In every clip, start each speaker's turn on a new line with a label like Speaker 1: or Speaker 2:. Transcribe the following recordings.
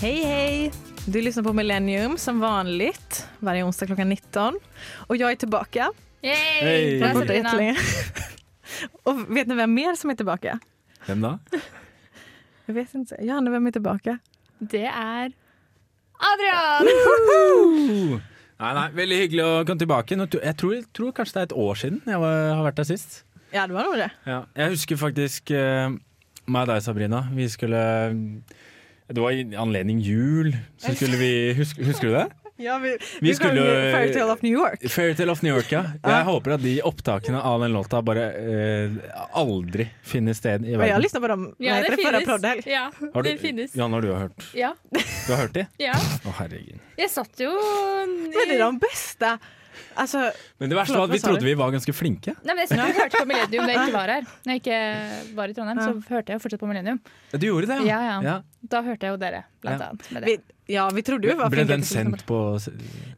Speaker 1: Hej hej! Du lyssnar på Millennium som vanligt varje onsdag klockan 19. Och jag är tillbaka.
Speaker 2: Yay!
Speaker 3: Hej!
Speaker 2: Bra,
Speaker 3: Jag är
Speaker 1: Borta
Speaker 2: Sabrina.
Speaker 1: jättelänge. Och vet ni vem mer som är tillbaka?
Speaker 3: Hvem da?
Speaker 1: Jag vet inte. Johanna, vem är tillbaka?
Speaker 2: Det er Adrian!
Speaker 3: Nei, nei, Veldig hyggelig å komme tilbake. Nå, tro- jeg tror, jeg tror kanskje det er et år siden jeg var, har vært der sist.
Speaker 1: Ja, det var nog det.
Speaker 3: Ja. Jeg husker faktisk eh, meg og deg, Sabrina. Vi skulle Det var i anledning jul, så skulle vi Husker, husker du det?
Speaker 1: Ja, vi,
Speaker 3: Vi skulle-
Speaker 1: sjöng Fairytale of New York.
Speaker 3: Fairytale of New York, ja. Jeg håper at de opptakene av den låta bare eh, aldri finner sted
Speaker 1: Men
Speaker 3: i
Speaker 1: jag
Speaker 3: verden.
Speaker 1: lyssnade på dem
Speaker 2: Ja,
Speaker 1: vad heter
Speaker 2: det
Speaker 1: det förra
Speaker 2: finnes.
Speaker 1: poddhelg.
Speaker 2: Ja,
Speaker 3: Har du,
Speaker 2: det finnes.
Speaker 3: Jan, har du hørt?
Speaker 2: Ja,
Speaker 3: Du har hørt de?
Speaker 2: ja.
Speaker 3: Å, herregud.
Speaker 2: Jeg satt jo mm,
Speaker 1: Men det är de bästa. Alltså,
Speaker 3: Men det verste
Speaker 1: Forlåt,
Speaker 3: var at
Speaker 1: hva
Speaker 3: vi
Speaker 1: sa du?
Speaker 3: trodde vi var ganske flinke.
Speaker 2: Nei, men Jeg satt og hørte på Millennium da jeg ikke var her. Når jeg ikke var i Trondheim,
Speaker 1: Ja.
Speaker 2: så hørte jeg jo fortsatt på Millennium.
Speaker 3: Du gjorde det,
Speaker 2: Ja, ja. Da hørte jeg jo dere, blant
Speaker 3: Ja.
Speaker 2: annet. Med det.
Speaker 1: vi, ja, vi trodde vi var
Speaker 3: Ble
Speaker 1: flinka
Speaker 3: den
Speaker 1: till sånt.
Speaker 3: sendt på s-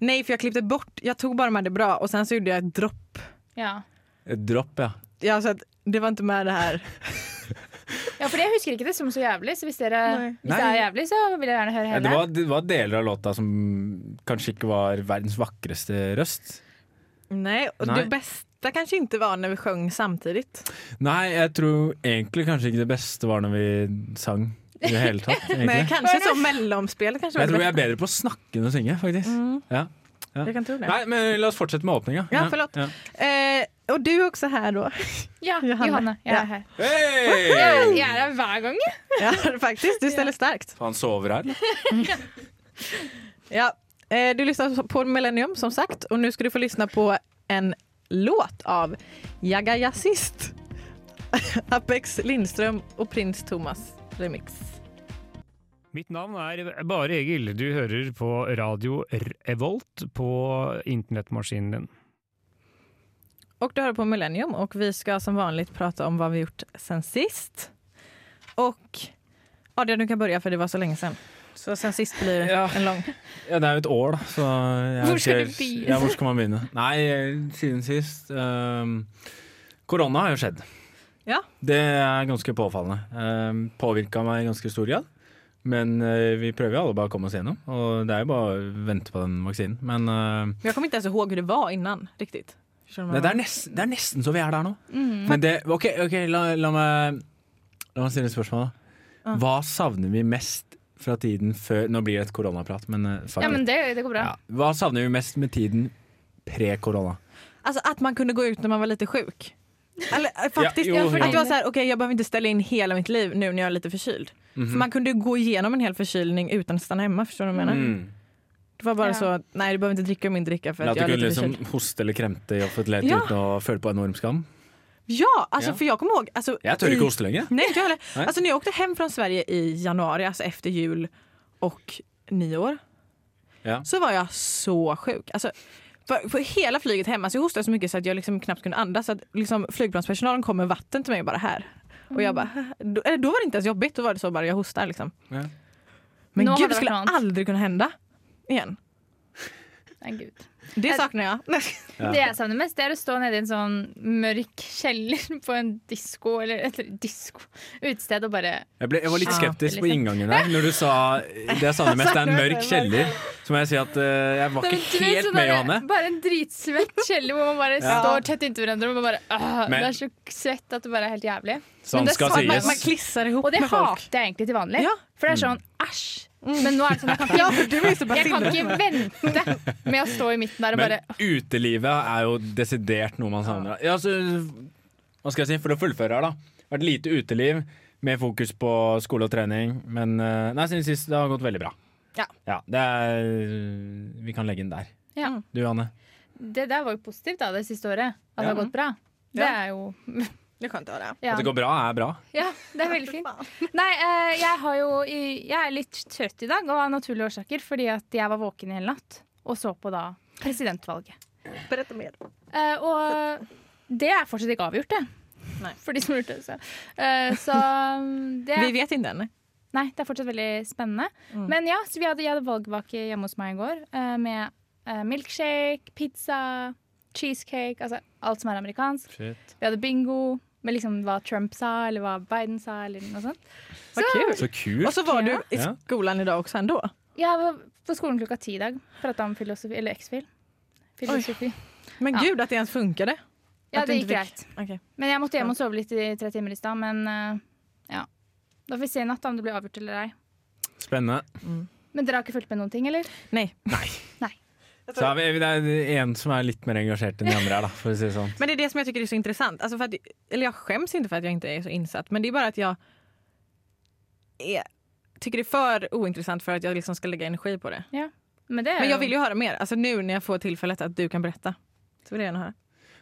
Speaker 1: Nej, för jag klippte bort. Jag tog bara med det bra och sen så gjorde jag ett dropp.
Speaker 2: Ja.
Speaker 3: et dropp, ja?
Speaker 1: Ja, så att det var inte med det här.
Speaker 2: ja, for jeg husker ikke det som så jævlig, så hvis, dere,
Speaker 1: Nei.
Speaker 2: hvis det er
Speaker 3: Nei.
Speaker 2: jævlig, så vil jeg gjerne høre
Speaker 3: Ja,
Speaker 2: hele.
Speaker 3: Eh, det, var, det var deler av låta som kanskje ikke var verdens vakreste røst.
Speaker 1: Nej, och
Speaker 3: Nej.
Speaker 1: det bästa kanske inte var när vi sjöng samtidigt.
Speaker 3: Nei, jeg tror egentlig kanskje ikke det beste var når vi sang i det hele tatt.
Speaker 1: Men
Speaker 3: egentlig.
Speaker 1: kanske så mellomspelet kanske var
Speaker 3: Jeg
Speaker 1: det Mm.
Speaker 3: tror jeg
Speaker 1: bästa.
Speaker 3: er bedre på å snakke enn å synge, faktisk. Ja. Ja.
Speaker 1: Jag kan tro det.
Speaker 3: Nei, men la oss fortsette med åpninga.
Speaker 1: Ja, forlåt. Eh, och du är också här då.
Speaker 2: Ja,
Speaker 1: Johanne.
Speaker 2: Johanne. Jeg
Speaker 1: Ja.
Speaker 2: er her.
Speaker 3: Hey!
Speaker 2: Jeg er her hver gang. jeg.
Speaker 1: Ja, faktiskt. Du ställer starkt.
Speaker 3: Han sover her, eller?
Speaker 1: Ja. Eh, du lyssnar på Millennium som sagt och nu ska du få lyssna på en låt av Jaga Jazzist, Apex Lindström och Prins Thomas remix.
Speaker 4: Mitt navn er Bare Egil. Du hører på radio Revolt på internettmaskinen din.
Speaker 1: Och du hör på Millennium och vi ska som vanligt prata om vad vi gjort sen sist. Och Adrian, du kan börja för det var så länge sen. Så sen sist blir
Speaker 3: Ja.
Speaker 1: en lång.
Speaker 3: Ja, det er jo et år, da. Så jeg
Speaker 2: Hvor skal
Speaker 3: vet
Speaker 2: du
Speaker 3: ikke-
Speaker 2: begynne?
Speaker 3: Ja, hvor skal man begynne? Nei, siden sist ehm, Korona har jo skjedd.
Speaker 1: Ja.
Speaker 3: Det er ganske påfallende. Um, Påvirka meg i ganske stor grad. Men eh, vi prøver jo alle bare å komme oss gjennom. Og det er jo bare å vente på den vaksinen. Men eh,
Speaker 1: Men jag kommer inte ens ihåg hur det var innan riktigt. Förstår du vad
Speaker 3: det,
Speaker 1: jag
Speaker 3: det, er nesten, det er nesten så vi er der nå.
Speaker 2: Mhm.
Speaker 3: Men det OK, ok, la, la meg La meg stille et spørsmål, da. Hva savner vi mest fra tiden før Nå blir det et koronaprat, men eh, fuck
Speaker 2: Ja,
Speaker 3: it.
Speaker 2: men det, det går bra.
Speaker 3: Ja. Hva savner vi mest med tiden pre-korona?
Speaker 1: Alltså att man kunde gå ut när man var lite sjuk. Eller, eh, faktiskt,
Speaker 3: jo,
Speaker 1: att
Speaker 3: jo.
Speaker 1: det var så här, okej, jag behöver inte ställa in hela mitt liv nu när jag är lite förkyld.
Speaker 3: Mhm.
Speaker 1: För man kunde ju gå igenom en hel förkylning utan att stanna hemma, förstår du
Speaker 3: Mm.
Speaker 1: vad jag menar?
Speaker 2: Mm.
Speaker 1: Det var bara
Speaker 2: Ja.
Speaker 1: så att, nej du behöver inte dricka min dricka för
Speaker 3: Eller
Speaker 1: att jag
Speaker 3: at du
Speaker 1: är
Speaker 3: kunne
Speaker 1: lite
Speaker 3: liksom
Speaker 1: förkyld.
Speaker 3: hoste eller kremte i offentlighet
Speaker 1: Ja.
Speaker 3: uten å føle på enorm skam?
Speaker 1: Ja, alltså
Speaker 3: Ja.
Speaker 1: för jag kommer ihåg, alltså,
Speaker 3: Jeg tør
Speaker 1: i-
Speaker 3: ikke hoste lenger.
Speaker 1: Nej, inte jag heller.
Speaker 3: Nej.
Speaker 1: Alltså, när jag åkte hem från Sverige i januari, alltså efter jul och nyår,
Speaker 3: Ja.
Speaker 1: så var jag så sjuk. Alltså, på, på hela flyget hem, alltså, jag hostade så mycket så att jag liksom knappt kunde andas. Så att, liksom, flygplanspersonalen kom med vatten till mig bara här. Och jag bara, då, eller, då var det inte ens jobbigt, då var det så bara jag hostar. Liksom.
Speaker 3: Ja.
Speaker 1: Men
Speaker 2: Nå har
Speaker 1: gud,
Speaker 2: det
Speaker 1: det skulle
Speaker 2: varit något annat.
Speaker 1: aldrig kunna hända igen.
Speaker 2: Nei, Gud.
Speaker 1: Det
Speaker 2: Jag-
Speaker 1: saknar jag.
Speaker 3: Ja.
Speaker 2: Det jeg savner mest, det er å stå nede i en sånn mørk kjeller på en disko eller et disko utested og bare
Speaker 3: Jeg, ble, jeg var litt
Speaker 2: Ah,
Speaker 1: Ja.
Speaker 3: skeptisk på inngangen her når du sa det jeg savner mest, det er en mørk kjeller. Så må jeg si at eh, jeg var
Speaker 2: Du vet, sånn
Speaker 3: ikke helt med,
Speaker 2: der-
Speaker 3: Johanne.
Speaker 2: Bare en dritsvett kjeller hvor man bare
Speaker 3: Ja.
Speaker 2: står tett inntil hverandre og man bare «Åh,
Speaker 3: Men-
Speaker 2: Det er så svett at det bare er helt jævlig. Men
Speaker 3: Sånn
Speaker 2: det
Speaker 3: skal
Speaker 2: sa-
Speaker 1: Man, man
Speaker 3: sies.
Speaker 1: klissar ihop
Speaker 2: Og det
Speaker 1: med folk.
Speaker 2: hater jeg egentlig til vanlig.
Speaker 1: Ja.
Speaker 2: For det er
Speaker 3: Mm.
Speaker 2: sånn æsj. Men nå er det sånn jeg kan ikke,
Speaker 1: Du är ju så
Speaker 2: jeg kan
Speaker 1: baciller.
Speaker 2: ikke vente med å stå i midten der og
Speaker 3: Men
Speaker 2: bare
Speaker 3: utelivet er jo desidert noe man savner. Ja, så, hva skal jeg si, for å fullføre her, da. Vært lite uteliv med fokus på skole og trening. Men eh, nei, siden sist, det har gått veldig bra.
Speaker 1: Ja.
Speaker 3: det er, vi kan legge den der.
Speaker 2: Ja.
Speaker 3: Du, Anne.
Speaker 2: Det der var jo positivt da, det siste året. At det
Speaker 3: Ja.
Speaker 2: har gått bra. Det
Speaker 1: Ja.
Speaker 2: er jo
Speaker 1: Det är skönt att höra.
Speaker 2: ja.
Speaker 3: At det går bra, er bra.
Speaker 2: Ja, det er veldig fint. Nei, eh, jeg, har jo, i- jeg er litt trøtt i dag, og av naturlige årsaker, fordi at jeg var våken i hele natt og så på da presidentvalget.
Speaker 1: Berätta mer.
Speaker 2: Eh, og det er fortsatt ikke avgjort, det.
Speaker 1: Nei.
Speaker 2: For de som lurte. Så, Eh, så mm, det
Speaker 1: Vi vet inte än.
Speaker 2: Nei, det er fortsatt veldig spennende.
Speaker 1: Mm.
Speaker 2: Men ja, så vi hadde, jeg hadde valgvake hjemme hos meg i går eh, med eh, milkshake, pizza, cheesecake, altså alt som er amerikansk. Vi hadde bingo med liksom hva Trump sa, eller hva Biden sa, eller noe sånt.
Speaker 1: Vad kul!
Speaker 3: Så
Speaker 1: Och
Speaker 3: kult.
Speaker 1: så var du i
Speaker 3: Ja.
Speaker 1: skolan idag också ändå.
Speaker 2: Jeg var på skolen klokka ti i dag. Prata om filosofi, eller X-fil. Filosofi.
Speaker 1: Men
Speaker 2: Ja.
Speaker 1: gud att det ens funkade.
Speaker 2: Ja,
Speaker 1: At du
Speaker 2: det
Speaker 1: ikke fikk-
Speaker 2: gikk greit.
Speaker 1: Okej.
Speaker 2: Men jeg måtte hjem og sove litt i tre timer i stad, men eh, ja. Da får vi se i natt da, om det blir avgjort eller ei.
Speaker 3: Spennende.
Speaker 2: Men dere har ikke fulgt med noen ting, eller?
Speaker 1: Nej.
Speaker 3: Så er vi, det er en som er litt mer engasjert enn de andre her, da, for å si det sånn.
Speaker 1: Men det är det som jag tycker är så intressant. Alltså för att, eller jag skäms inte för att jag inte är så insatt men det är bara att jag är, tycker det är för ointressant för att jag liksom ska lägga energi på det.
Speaker 2: Men, det er
Speaker 1: Men
Speaker 2: jo-
Speaker 1: jag vill ju höra mer. Alltså nu när jag får tillfället att du kan berätta så vill jag gärna höra.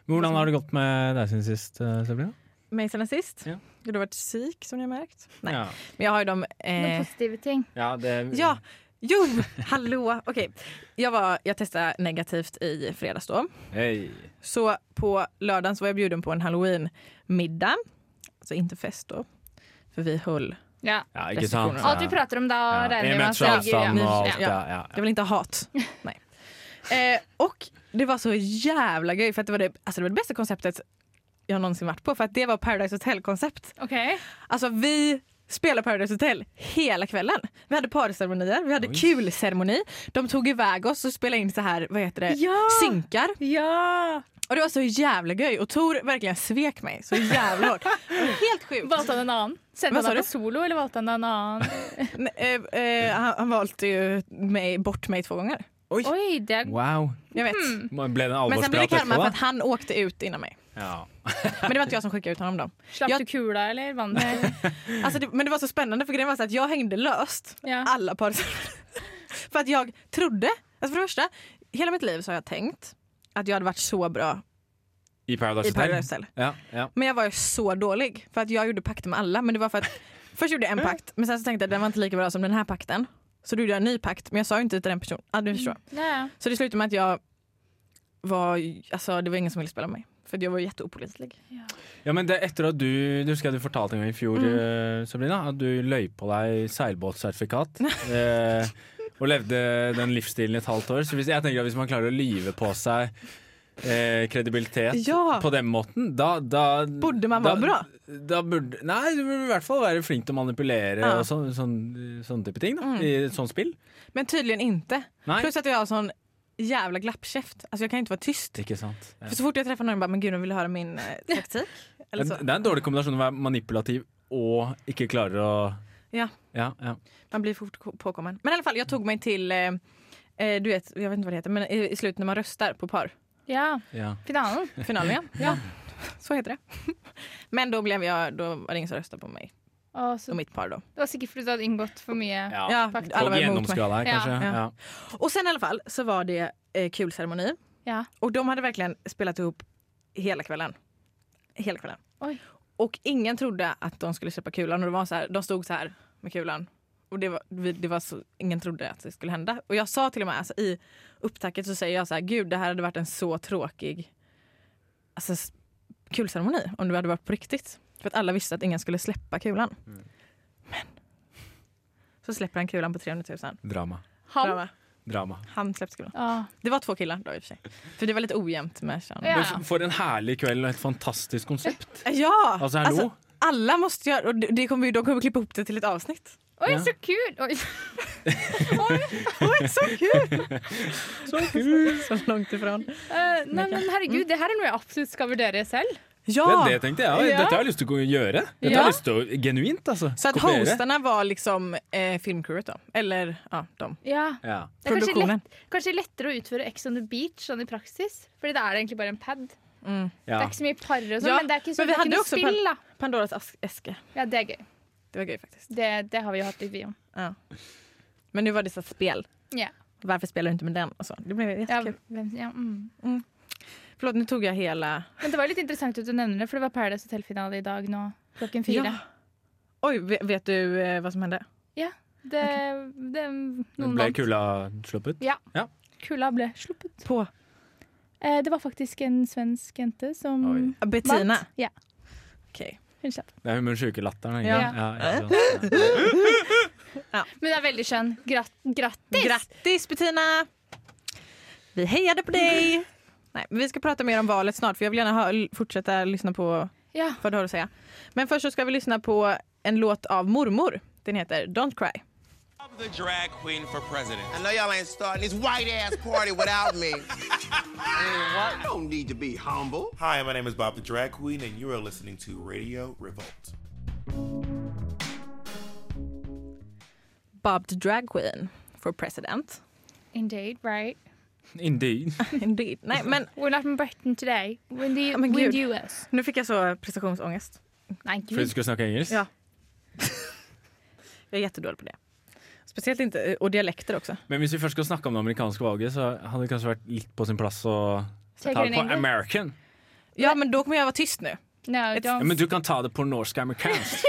Speaker 3: Men Hvordan har det gått med deg siden sist, eh, Sabrina?
Speaker 1: Mig sen sist.
Speaker 3: Ja.
Speaker 1: Du har varit sjuk som ni har märkt. Nej.
Speaker 3: Ja.
Speaker 1: Men jag har ju de...
Speaker 2: noen
Speaker 1: Eh,
Speaker 2: positive ting.
Speaker 3: Ja, det,
Speaker 1: ja, jo, hallå. Okej. Jag, var, jeg testade negativt i fredags då.
Speaker 3: Hei.
Speaker 1: Så på lördagen så var jag bjuden på en halloween-middag. Alltså inte fest då. För vi höll
Speaker 2: Ja.
Speaker 3: Ja, ikke sant?
Speaker 1: Restriksjoner.
Speaker 2: Alt vi prater om da,
Speaker 3: Ja.
Speaker 2: regner
Speaker 3: En
Speaker 2: vi med
Speaker 3: meters
Speaker 2: at det ligger-
Speaker 3: avstand og alt.
Speaker 2: ja.
Speaker 3: Ja, ja,
Speaker 1: Jag vill inte ha hat. Nej. Eh, och det var så jävla gøy för att det var det, alltså det var det bästa konceptet jag någonsin varit på för att det var Paradise Hotel-koncept.
Speaker 2: Ok.
Speaker 1: Alltså vi spelade Paradise Hotel hela kvällen. Vi hade parceremonier, vi hade
Speaker 3: Oj.
Speaker 1: kulceremoni. De tog iväg oss och spelade in så här, vad heter det,
Speaker 2: Ja!
Speaker 1: synkar.
Speaker 2: Ja!
Speaker 1: Och det var så jävla gøy och Tor verkligen svek mig så jävla hårt. Det var Helt sjukt.
Speaker 2: Valgte han en annen? Sendte
Speaker 1: Hva sa
Speaker 2: han deg
Speaker 1: du?
Speaker 2: på solo, eller valgte han en annen?
Speaker 1: N- eh, eh, han, han valde ju mig, bort mig två gånger.
Speaker 2: Oi, det er
Speaker 3: Wow.
Speaker 1: Jag vet.
Speaker 3: Ble det en
Speaker 1: Men sen blev det
Speaker 3: alvorsprat
Speaker 1: karma
Speaker 3: etterpå,
Speaker 1: för
Speaker 3: da?
Speaker 1: att han åkte ut innan mig.
Speaker 3: Ja.
Speaker 1: Men det var inte jag som skickade ut honom då.
Speaker 2: Slapp
Speaker 1: Ja.
Speaker 2: du kula, eller vann du?
Speaker 1: Alltså det, men det var så spännande för grejen var så att jag hängde löst
Speaker 2: Ja.
Speaker 1: alla par. för att jag trodde, alltså för det första, hela mitt liv så har jag tänkt att jag hade varit så bra
Speaker 3: I Paradise
Speaker 1: i
Speaker 3: Hotel?
Speaker 1: Paradise Hotel.
Speaker 3: Ja, ja.
Speaker 1: Men jag var ju så dålig för att jag gjorde pakter med alla men det var för att först gjorde jag en pakt men sen så tänkte jag att den var inte lika bra som den här pakten. Så då gjorde jag en ny pakt men jag sa ju inte till den personen. Ja, du förstår.
Speaker 2: Ja.
Speaker 1: Så det slutade med att jag var, alltså det var ingen som ville spela med mig. För att jag var jätteopålitlig.
Speaker 3: ja, men det er etter at du Du husker jeg du fortalte en gang i fjor,
Speaker 1: Mm.
Speaker 3: eh, Sabrina, at du løy på deg seilbåtsertifikat. eh, og levde den livsstilen i et halvt år. Så hvis, jeg tenker at hvis man klarer å lyve på seg eh, kredibilitet
Speaker 1: Ja.
Speaker 3: på den måten, da, da
Speaker 1: Borde man vara
Speaker 3: da,
Speaker 1: bra?
Speaker 3: Da burde, nei, du burde i hvert fall være flink til å manipulere
Speaker 1: Ja.
Speaker 3: og sånn, sånn, sånn type ting. Da,
Speaker 1: Mm.
Speaker 3: I et sånt spill.
Speaker 1: Men tydligen inte.
Speaker 3: Nei,
Speaker 1: Plus att jag har sån jävla glappkäft. Alltså jag kan inte vara tyst.
Speaker 3: ikke sant. Ja.
Speaker 1: För så fort jag träffar någon bara, men gud de vill höra min eh, taktik. Eller
Speaker 3: Men
Speaker 1: så.
Speaker 3: Det er en dårlig kombinasjon å være manipulativ og ikke klarer å
Speaker 1: Ja.
Speaker 3: Ja, ja.
Speaker 1: Man blir fort ko- påkommen. Men i alla fall, jag tog mig till, eh, eh, du vet, jag vet inte vad det heter, men i, i slutet när man röstar på par.
Speaker 2: ja.
Speaker 3: ja.
Speaker 2: Finalen.
Speaker 1: Finalen igen. ja. Så heter det. Men då blev jag, då var det ingen som röstade på mig
Speaker 2: Å, så-
Speaker 1: och mitt par då.
Speaker 2: Det var sikkert fordi du hadde inngått for mye.
Speaker 3: ja.
Speaker 1: Ja,
Speaker 2: faktiskt.
Speaker 1: alla
Speaker 3: Folk
Speaker 1: var emot mig.
Speaker 3: gjennomskua deg,
Speaker 2: Ja,
Speaker 3: kanskje.
Speaker 1: ja.
Speaker 3: Ja.
Speaker 1: Och sen i alla fall så var det eh, kul ceremoni
Speaker 2: Ja.
Speaker 1: och de hade verkligen spelat ihop hela kvällen. Hela kvällen.
Speaker 2: Oj.
Speaker 1: Och ingen trodde att de skulle släppa kulan och det var så här, de stod så här med kulan. Och det var, vi- det var så, ingen trodde att det skulle hända. Och jag sa till och med alltså, i upptacket så säger jag så här, gud det här hade varit en så tråkig alltså, s- kulceremoni om det hade varit på riktigt. För att alla visste att ingen skulle släppa kulan. Men så släpper han kulan på 300 000.
Speaker 3: Drama.
Speaker 2: Han.
Speaker 1: Drama.
Speaker 3: Drama.
Speaker 1: Han släpps kulan.
Speaker 2: Ja.
Speaker 1: Det var två killar då i och for sig. För det var lite ojämnt med kön.
Speaker 2: Ja.
Speaker 3: Men f- For en herlig kveld og et fantastisk konsept.
Speaker 1: Ja!
Speaker 3: Altså, hallo.
Speaker 1: Alltså, alla måste göra, och det- det kommer, ju- de kommer klippa ihop det till ett avsnitt.
Speaker 2: Oi,
Speaker 3: Ja.
Speaker 2: så kul! Oi.
Speaker 1: Oj, så kul! så kul! så långt ifrån.
Speaker 2: Eh, nei, men herregud,
Speaker 3: Mm.
Speaker 2: det her er noe jeg absolutt skal vurdere selv.
Speaker 1: Ja!
Speaker 3: Det, det tenkte jeg.
Speaker 2: Ja.
Speaker 3: Dette har jeg lyst til å gjøre. Dette har
Speaker 2: Ja.
Speaker 3: jeg lyst til å Genuint, altså.
Speaker 1: Så att
Speaker 3: Kopiere.
Speaker 1: hostarna var liksom eh, filmcrewet då. Eller ja, de.
Speaker 2: Ja.
Speaker 3: ja.
Speaker 2: Det er kanskje,
Speaker 1: Produktionen.
Speaker 2: lett, kanskje lettere å utføre Ex on the beach sånn i praksis. Fordi da er det egentlig bare en pad. Det
Speaker 1: Mm.
Speaker 3: Ja.
Speaker 2: er ikke så mye par og sånn,
Speaker 1: Ja,
Speaker 2: men det er ikke, så,
Speaker 1: men vi
Speaker 2: det er
Speaker 1: hadde
Speaker 2: ikke noe
Speaker 1: også par-
Speaker 2: spill, da.
Speaker 1: Pandoras as- äske.
Speaker 2: Ja, det er gøy.
Speaker 1: Det var gøy faktiskt.
Speaker 2: Det, det har vi jo hatt litt vi om.
Speaker 1: Men nu var det så här spel.
Speaker 2: Ja.
Speaker 1: Varför spelar du inte med den? Och så. Det blev
Speaker 2: Ja,
Speaker 1: jättekul.
Speaker 2: hvem, ja, mm.
Speaker 1: Förlåt, nu tog jag hela...
Speaker 2: Men det var litt interessant at du nevner det, for det var Paradise Hotel-finale i dag nå klokken fire.
Speaker 1: Ja. Oj, ve- vet du eh, vad som hände?
Speaker 2: Det, det, noen
Speaker 3: Ble
Speaker 2: vant.
Speaker 3: kula sluppet?
Speaker 2: Kula ble sluppet.
Speaker 1: På
Speaker 2: Eh, det var faktisk en svensk jente som
Speaker 3: Oi.
Speaker 1: Bettina.
Speaker 2: vant. Ja,
Speaker 1: Okej.
Speaker 2: hun slapp.
Speaker 3: Det er hun med den sjuke latteren. ikke
Speaker 1: Ja.
Speaker 3: sant? Ja, ikke sant? Ja.
Speaker 2: Men det er veldig skjønn. Grat grattis!
Speaker 1: Grattis Bettina! Vi hejade på dig! Nej, men vi ska prata mer om valet snart för jag vill gärna ha, fortsätta lyssna på
Speaker 2: Ja.
Speaker 1: vad du har att säga. Men först så ska vi lyssna på en låt av mormor. Den heter Don't Cry.
Speaker 5: I'm the drag queen for president.
Speaker 6: I know y'all ain't starting this white ass party without me. I don't need to be humble.
Speaker 7: Hi, my name is Bob the Drag Queen, and you are listening to Radio Revolt.
Speaker 1: Bob the Drag Queen for President.
Speaker 2: Indeed, right?
Speaker 3: Indeed.
Speaker 1: Indeed. Nej, men
Speaker 2: We're not in Britain today. When the,
Speaker 1: men
Speaker 2: we're in
Speaker 1: gud.
Speaker 2: the US.
Speaker 1: nu fick jag så prestationsångest.
Speaker 2: Nei,
Speaker 3: For du
Speaker 2: gud.
Speaker 3: skulle snakke engelsk?
Speaker 1: Ja. Jag är jättedålig på det. Speciellt inte, eh, och dialekter också.
Speaker 3: Men hvis vi først skal snakke om det amerikanske valget, så hadde det kanskje vært litt på sin plass å
Speaker 2: Take
Speaker 3: ta
Speaker 2: it in
Speaker 3: det på
Speaker 2: English.
Speaker 3: American.
Speaker 1: Ja, men då kommer jag vara tyst nu.
Speaker 2: No,
Speaker 3: Ja,
Speaker 2: don't.
Speaker 3: men du kan ta det på norsk-amerikansk.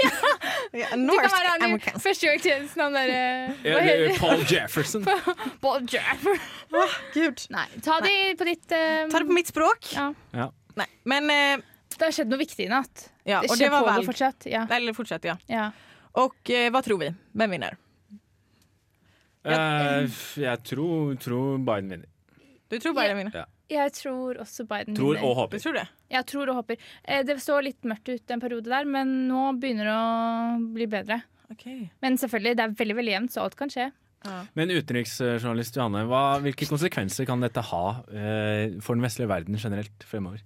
Speaker 2: Du kan
Speaker 1: Norsk
Speaker 2: være han i
Speaker 1: amerikansk.
Speaker 2: første øyekjensen, han derre eh, Hva
Speaker 3: Eller
Speaker 2: heter det?
Speaker 3: Paul Jefferson.
Speaker 2: Bodger.
Speaker 1: Ah, Gud.
Speaker 2: Nei, ta det på ditt eh,
Speaker 1: Ta det på mitt språk.
Speaker 2: Ja.
Speaker 3: Ja.
Speaker 1: Nej, men... Eh,
Speaker 2: Det har skjedd noe viktig i natt.
Speaker 1: ja, och det
Speaker 2: skjer
Speaker 1: var
Speaker 2: pågår
Speaker 1: valg.
Speaker 2: fortsatt. Ja.
Speaker 1: Eller fortsätt, ja.
Speaker 2: Ja.
Speaker 1: Och eh, vad tror vi? Vem vinner? mm.
Speaker 3: Eh, f- jeg tror, tror Biden vinner.
Speaker 1: Du tror Biden
Speaker 2: Ja.
Speaker 1: vinner?
Speaker 2: Jeg tror også Biden
Speaker 3: Tror
Speaker 2: vinner.
Speaker 3: og
Speaker 1: Du
Speaker 3: håper.
Speaker 1: tror det?
Speaker 2: Jeg tror og håper. Eh, Det så litt mørkt ut en periode der, men nå begynner det å bli bedre.
Speaker 1: Okej.
Speaker 2: Men selvfølgelig, det er veldig veldig jevnt, så alt kan skje.
Speaker 3: Men utenriksjournalist Johanne, hva, hvilke konsekvenser kan dette ha eh, for den vestlige verden generelt fremover?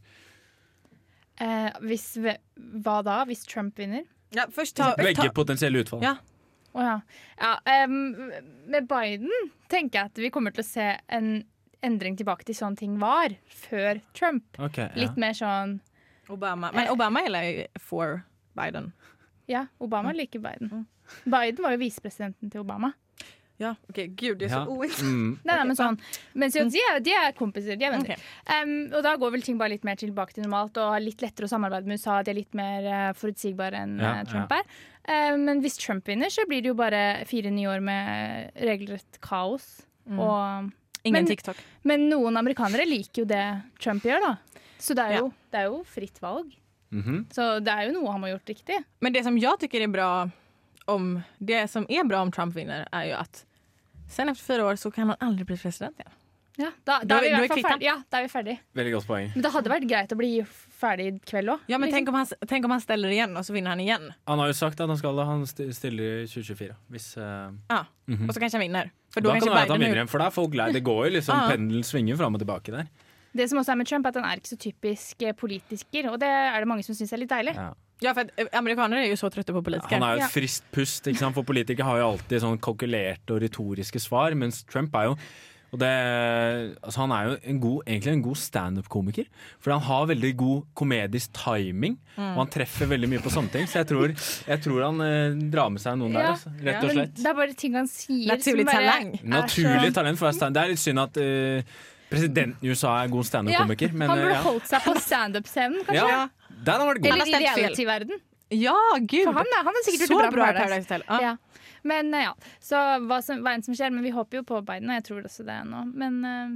Speaker 2: Eh, hvis, ve- hva da, hvis Trump vinner?
Speaker 1: Ja, først ta, ta
Speaker 3: Begge potensielle utfall.
Speaker 1: Ja.
Speaker 2: Å ja. ja em, med Biden tenker jeg at vi kommer til å se en endring tilbake til sånn ting var før Trump.
Speaker 3: Ok, ja.
Speaker 2: Litt mer sånn
Speaker 1: Obama. Men Obama gillar ju for Biden.
Speaker 2: Ja, Obama liker Biden. Biden var jo visepresidenten til Obama.
Speaker 1: Ja, okej. Gud, det är
Speaker 3: Ja.
Speaker 1: så ointressant.
Speaker 3: Mm.
Speaker 2: Nei, nei, men sånn Men så, de, er, de er kompiser, de er venner.
Speaker 1: Ok.
Speaker 2: Em, og da går vel ting bare litt mer tilbake til normalt og har litt lettere å samarbeide med USA. De er litt mer eh, forutsigbare enn
Speaker 3: Ja,
Speaker 2: eh, Trump er. Em, men hvis Trump vinner, så blir det jo bare fire nye år med eh, regelrett kaos. Og,
Speaker 1: Ingen
Speaker 2: Men-
Speaker 1: TikTok.
Speaker 2: men noen amerikanere liker jo det Trump gjør, da. Så det er jo,
Speaker 1: Ja.
Speaker 2: det er jo fritt valg.
Speaker 3: Mhm.
Speaker 2: Så det er jo noe han må ha gjort riktig.
Speaker 1: Men det som jag tycker är bra om det som är bra om Trump vinner är ju att sen efter fyra år så kan han aldrig bli president igen.
Speaker 2: Ja, da,
Speaker 1: Da
Speaker 2: da,
Speaker 1: er-
Speaker 2: er vi i
Speaker 1: da er
Speaker 2: hvert fall
Speaker 1: kvitt han.
Speaker 2: ferdig. Ja, da er vi ferdig.
Speaker 3: Veldig godt poeng.
Speaker 2: Men det hadde vært greit å bli ferdig i kveld Liksom, òg.
Speaker 1: Ja, men tänk om, han, tänk om han ställer igen och så vinner han igen.
Speaker 3: Han har jo sagt at han skal det. Han st- stiller i 2024. Hvis, eh,
Speaker 1: Ja. Och så kanskje han vinner. För
Speaker 3: da kan det være at han vinner
Speaker 1: vinner.
Speaker 3: igjen, for da er folk lei. Det går jo liksom
Speaker 1: Ah.
Speaker 3: pendelen svinger fram og tilbake der.
Speaker 2: Det som også er med Trump, er at han er ikke så typisk eh, politiker. Og det er det mange som syns er litt deilig.
Speaker 3: Ja.
Speaker 1: Ja, för att eh, amerikaner är ju så trötta på politiker.
Speaker 3: Han er jo
Speaker 2: Ja.
Speaker 3: et friskt pust, ikke sant? for politikere har jo alltid sånn kalkulerte og retoriske svar, mens Trump er jo og det, altså han er jo en god, egentlig en god standup-komiker. For han har veldig god komedisk timing, og han treffer veldig mye på sånne ting. Så jeg tror, jeg tror han eh, drar med seg noen der,
Speaker 2: Ja.
Speaker 3: altså, rett og
Speaker 2: Men
Speaker 3: slett.
Speaker 2: det er bare ting han sier
Speaker 1: Naturlig
Speaker 2: som bare
Speaker 1: talent.
Speaker 2: er
Speaker 3: Naturlig
Speaker 2: så-
Speaker 3: talent for å være stand- Det er litt synd at eh, presidenten i USA er god standup-komiker, men
Speaker 2: han
Speaker 3: eh,
Speaker 2: burde
Speaker 3: ja.
Speaker 2: holdt seg på standup-scenen, kanskje.
Speaker 3: ja. Der har han vært god.
Speaker 1: har
Speaker 2: Eller i
Speaker 1: stemt fel.
Speaker 2: reality-verden.
Speaker 1: Ja, gud.
Speaker 2: For han er, han er sikkert
Speaker 1: så
Speaker 2: gjort
Speaker 1: bra,
Speaker 2: det bra
Speaker 1: i
Speaker 2: på Paradise.
Speaker 1: Paradise Hotel. Ja.
Speaker 2: Ja. Men eh, ja, så hva, som, hva enn som skjer. Men vi håper jo på Biden, og jeg tror også det nå. Men eh,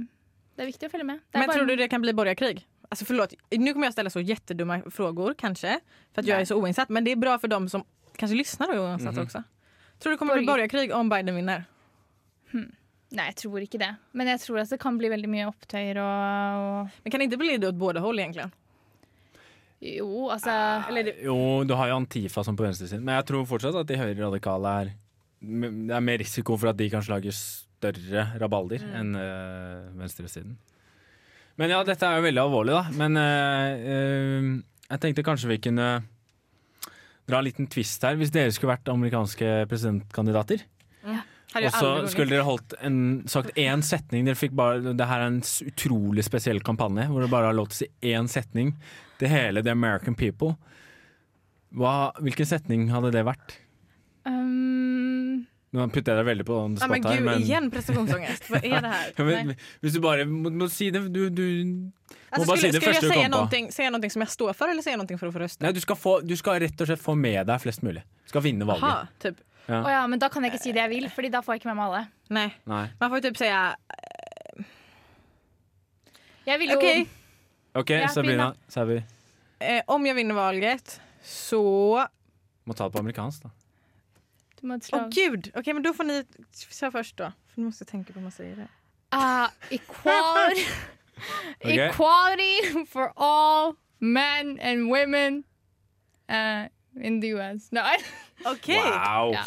Speaker 2: det er viktig å følge med. Det er
Speaker 1: Men
Speaker 2: bare-
Speaker 1: tror du det kan bli borgarkrig? Alltså förlåt, nu kommer jag ställa så jättedumma frågor kanske, för att jag
Speaker 2: Nej.
Speaker 1: är så oinsatt. Men det är bra för dem som kanske lyssnar och är oinsatta
Speaker 3: Mhm.
Speaker 1: också. Tror du det kommer bli
Speaker 2: Borg-
Speaker 1: borgarkrig om Biden vinner?
Speaker 2: Nei, jeg tror ikke det. Men jeg tror at det kan bli veldig mye opptøyer og, og
Speaker 1: Men kan det inte bli det åt båda håll egentligen?
Speaker 2: Jo, altså
Speaker 3: Jo, du har jo Antifa som på venstresiden, men jeg tror fortsatt at de høyreradikale er Det er mer risiko for at de kanskje lager større rabalder enn øh, venstresiden. Men ja, dette er jo veldig alvorlig, da. Men øh, øh, jeg tenkte kanskje vi kunne dra en liten twist her. Hvis dere skulle vært amerikanske presidentkandidater,
Speaker 1: Hade jag
Speaker 3: og så
Speaker 1: aldrig vunnit.
Speaker 3: skulle dere holdt en, sagt én setning Dere fikk bare Det her er en s- utrolig spesiell kampanje hvor dere bare har lov til å si én setning til hele the American people. Hva, hvilken setning hadde det vært?
Speaker 2: um,
Speaker 3: Nå putter jeg deg veldig på on the
Speaker 1: Ja,
Speaker 3: spot
Speaker 1: men
Speaker 3: her,
Speaker 1: gud,
Speaker 3: men,
Speaker 1: igen prestationsångest. Vad är det här?
Speaker 3: Ja,
Speaker 1: Nej.
Speaker 3: men Hvis du bare må, må si det du, du, må
Speaker 1: Alltså,
Speaker 3: bare si
Speaker 1: skulle
Speaker 3: det
Speaker 1: skulle jag
Speaker 3: første du
Speaker 1: säga
Speaker 3: kom på.
Speaker 1: någonting, säga någonting som jag står för eller säga någonting för att få röster?
Speaker 3: Nei, du skal, få, du skal rett og slett få med deg flest mulig. Du skal vinne valget.
Speaker 1: Aha, typ.
Speaker 2: Å ja, men da kan jeg ikke si det jeg vil, Fordi da får jeg ikke med meg alle.
Speaker 1: Nej.
Speaker 3: Nei.
Speaker 1: Man får ju typ säga
Speaker 2: Jeg vil jo
Speaker 1: okej,
Speaker 3: OK,
Speaker 2: Ja,
Speaker 3: Sabrina. Så er vi
Speaker 1: eh, om jag vinner valget så
Speaker 3: Må ta det på amerikansk, da.
Speaker 2: Du må ha et
Speaker 1: Åh
Speaker 2: slag.
Speaker 1: gud, okej men då får ni köra först då. För nu måste jag tänka på hur man säger det.
Speaker 2: Ah, equality.
Speaker 3: Ok.
Speaker 2: equality for all men and women eh, in the US. Nei.
Speaker 1: OK!
Speaker 3: Wow!
Speaker 2: Ja.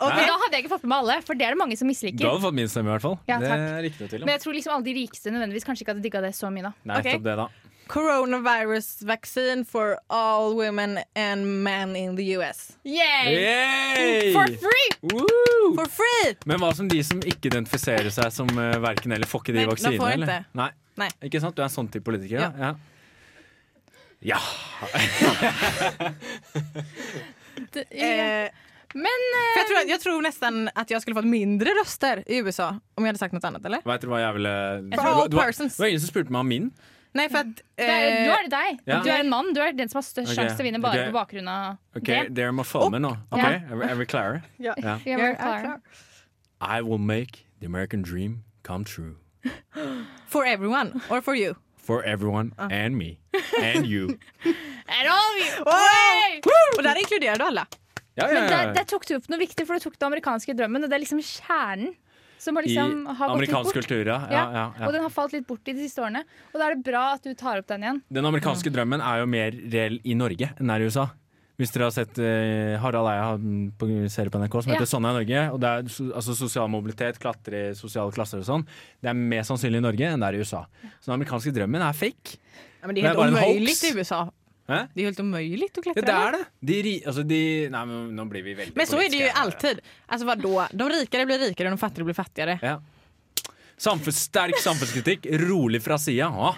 Speaker 1: Ok.
Speaker 2: Men da hadde jeg ikke fått med meg alle, for det er det mange som
Speaker 3: Du
Speaker 2: misliker.
Speaker 3: hadde fått min stemme, i hvert fall.
Speaker 2: Ja,
Speaker 3: det
Speaker 2: takk.
Speaker 3: er ikke noe tvil om.
Speaker 2: Men jeg tror liksom alle de rikeste nødvendigvis kanskje ikke hadde digga det så mye, da.
Speaker 3: Nei,
Speaker 1: Ok.
Speaker 3: nettopp det, da.
Speaker 1: Coronavirus vaccine for all women and men in the US.
Speaker 2: Yay!
Speaker 3: Yay!
Speaker 2: For free!
Speaker 3: Woo!
Speaker 1: For free!
Speaker 3: Men hva som de som ikke identifiserer seg som uh, verken eller får ikke de
Speaker 1: Nei, da får
Speaker 3: vaksinene?
Speaker 1: jeg
Speaker 3: eller?
Speaker 1: ikke.
Speaker 3: Nei.
Speaker 1: Nei.
Speaker 3: Ikke sant? Du er en sånn type politiker? Ja. ja.
Speaker 2: Det- ja.
Speaker 1: Eh,
Speaker 2: Men eh,
Speaker 1: för jag, tror, jag tror nästan att jag skulle fått mindre röster i USA om jag hade sagt något annat eller?
Speaker 3: Vet du hva jeg ville
Speaker 1: For
Speaker 3: Det var-
Speaker 1: all
Speaker 3: det var-
Speaker 1: persons.
Speaker 3: Det var ingen som spurte meg om min.
Speaker 1: Nej för att...
Speaker 2: det er,
Speaker 1: eh,
Speaker 2: nå er det deg.
Speaker 3: Ja.
Speaker 2: Du er en mann. Du er den som har størst
Speaker 3: Ok,
Speaker 2: sjanse til å vinne bare
Speaker 3: ok.
Speaker 2: på bakgrunn av
Speaker 3: Ok,
Speaker 2: det.
Speaker 3: Dere må følge med nå. Ok,
Speaker 2: Ja.
Speaker 3: Er vi- er vi klare?
Speaker 1: Ja.
Speaker 3: Ja.
Speaker 2: Vi er
Speaker 1: jag
Speaker 2: bare
Speaker 1: är klar.
Speaker 2: klar.
Speaker 3: I will make the American dream come true.
Speaker 1: For everyone or for you.
Speaker 3: For everyone and me. And you.
Speaker 2: Er all you- Oi!
Speaker 1: Och där inkluderar du alla.
Speaker 3: Ja,
Speaker 2: Men
Speaker 3: ja,
Speaker 2: der,
Speaker 3: ja.
Speaker 2: der tok du opp noe viktig, for du tok den amerikanske drømmen. Og det er liksom kjernen som har
Speaker 3: I
Speaker 2: liksom har gått litt
Speaker 3: amerikansk
Speaker 2: bort.
Speaker 3: kultur, ja. ja, ja, ja.
Speaker 2: Og den har falt litt bort i de siste årene. Og da er det bra at du tar opp den igjen.
Speaker 3: Den amerikanske drømmen er jo mer reell i Norge enn der i USA. Hvis dere har sett eh, Harald Eia har en på- serie på NRK som
Speaker 2: Ja.
Speaker 3: heter Sånn er Norge. Og det er so- altså, Sosial mobilitet, klatre i sosiale klasser og sånn. Det er mer sannsynlig i Norge enn det er i USA. Så den amerikanske drømmen er fake.
Speaker 1: Ja, men det är
Speaker 3: Men
Speaker 1: helt
Speaker 3: var det en
Speaker 1: omöjligt
Speaker 3: hoax?
Speaker 1: i USA.
Speaker 3: Hæ?
Speaker 1: Det är helt omöjligt att klättra.
Speaker 3: Ja, det er det. De, ri- altså, de Nei, men nå blir vi veldig
Speaker 1: Men så är det ju
Speaker 3: politiske her.
Speaker 1: alltid. Alltså vadå? De rikare blir rikare och de fattigare blir fattigare.
Speaker 3: Ja. Samfunns, sterk samfunnskritikk, rolig fra sida. Ja.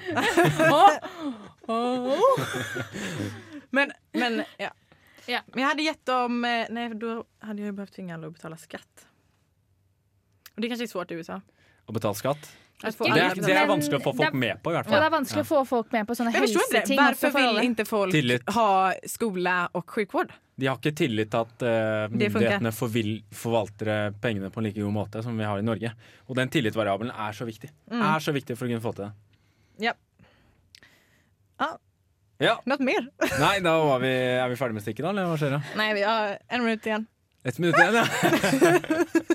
Speaker 1: Men, men ja.
Speaker 2: Ja.
Speaker 1: Men jag hade gett dem... eh, Nej, då hade jag ju behövt tvinga alla att betala skatt. Och det kanske är svårt i USA. Altså,
Speaker 3: Å betale skatt.
Speaker 1: Att få
Speaker 2: Det
Speaker 3: Det
Speaker 1: alla
Speaker 2: Ja,
Speaker 3: er,
Speaker 1: att
Speaker 2: men-
Speaker 3: det
Speaker 1: betala.
Speaker 3: er vanskelig å få
Speaker 2: det er-
Speaker 3: folk med på, i hvert
Speaker 2: Og det
Speaker 3: fall.
Speaker 2: er vanskelig å få folk med på sånne
Speaker 1: Jag förstår inte.
Speaker 2: helseting.
Speaker 1: Varför
Speaker 2: også for
Speaker 1: vill
Speaker 2: alle.
Speaker 1: inte folk
Speaker 3: Tillit.
Speaker 1: ha skola och sjukvård?
Speaker 3: De har ikke tillit til at eh,
Speaker 1: Det funker.
Speaker 3: myndighetene forvil, forvalter eh, pengene på en like god måte som vi har i Norge. Og den tillitsvariabelen er så viktig.
Speaker 2: Mm.
Speaker 3: Er så viktig for å kunne få til det.
Speaker 1: Ja. Ja.
Speaker 3: Ja.
Speaker 1: Något mer?
Speaker 3: Nei, da var vi, er vi ferdige med stikket, da? Eller hva skjer da?
Speaker 1: Nej, vi har en minut igen.
Speaker 3: Ett minutt igjen, ja.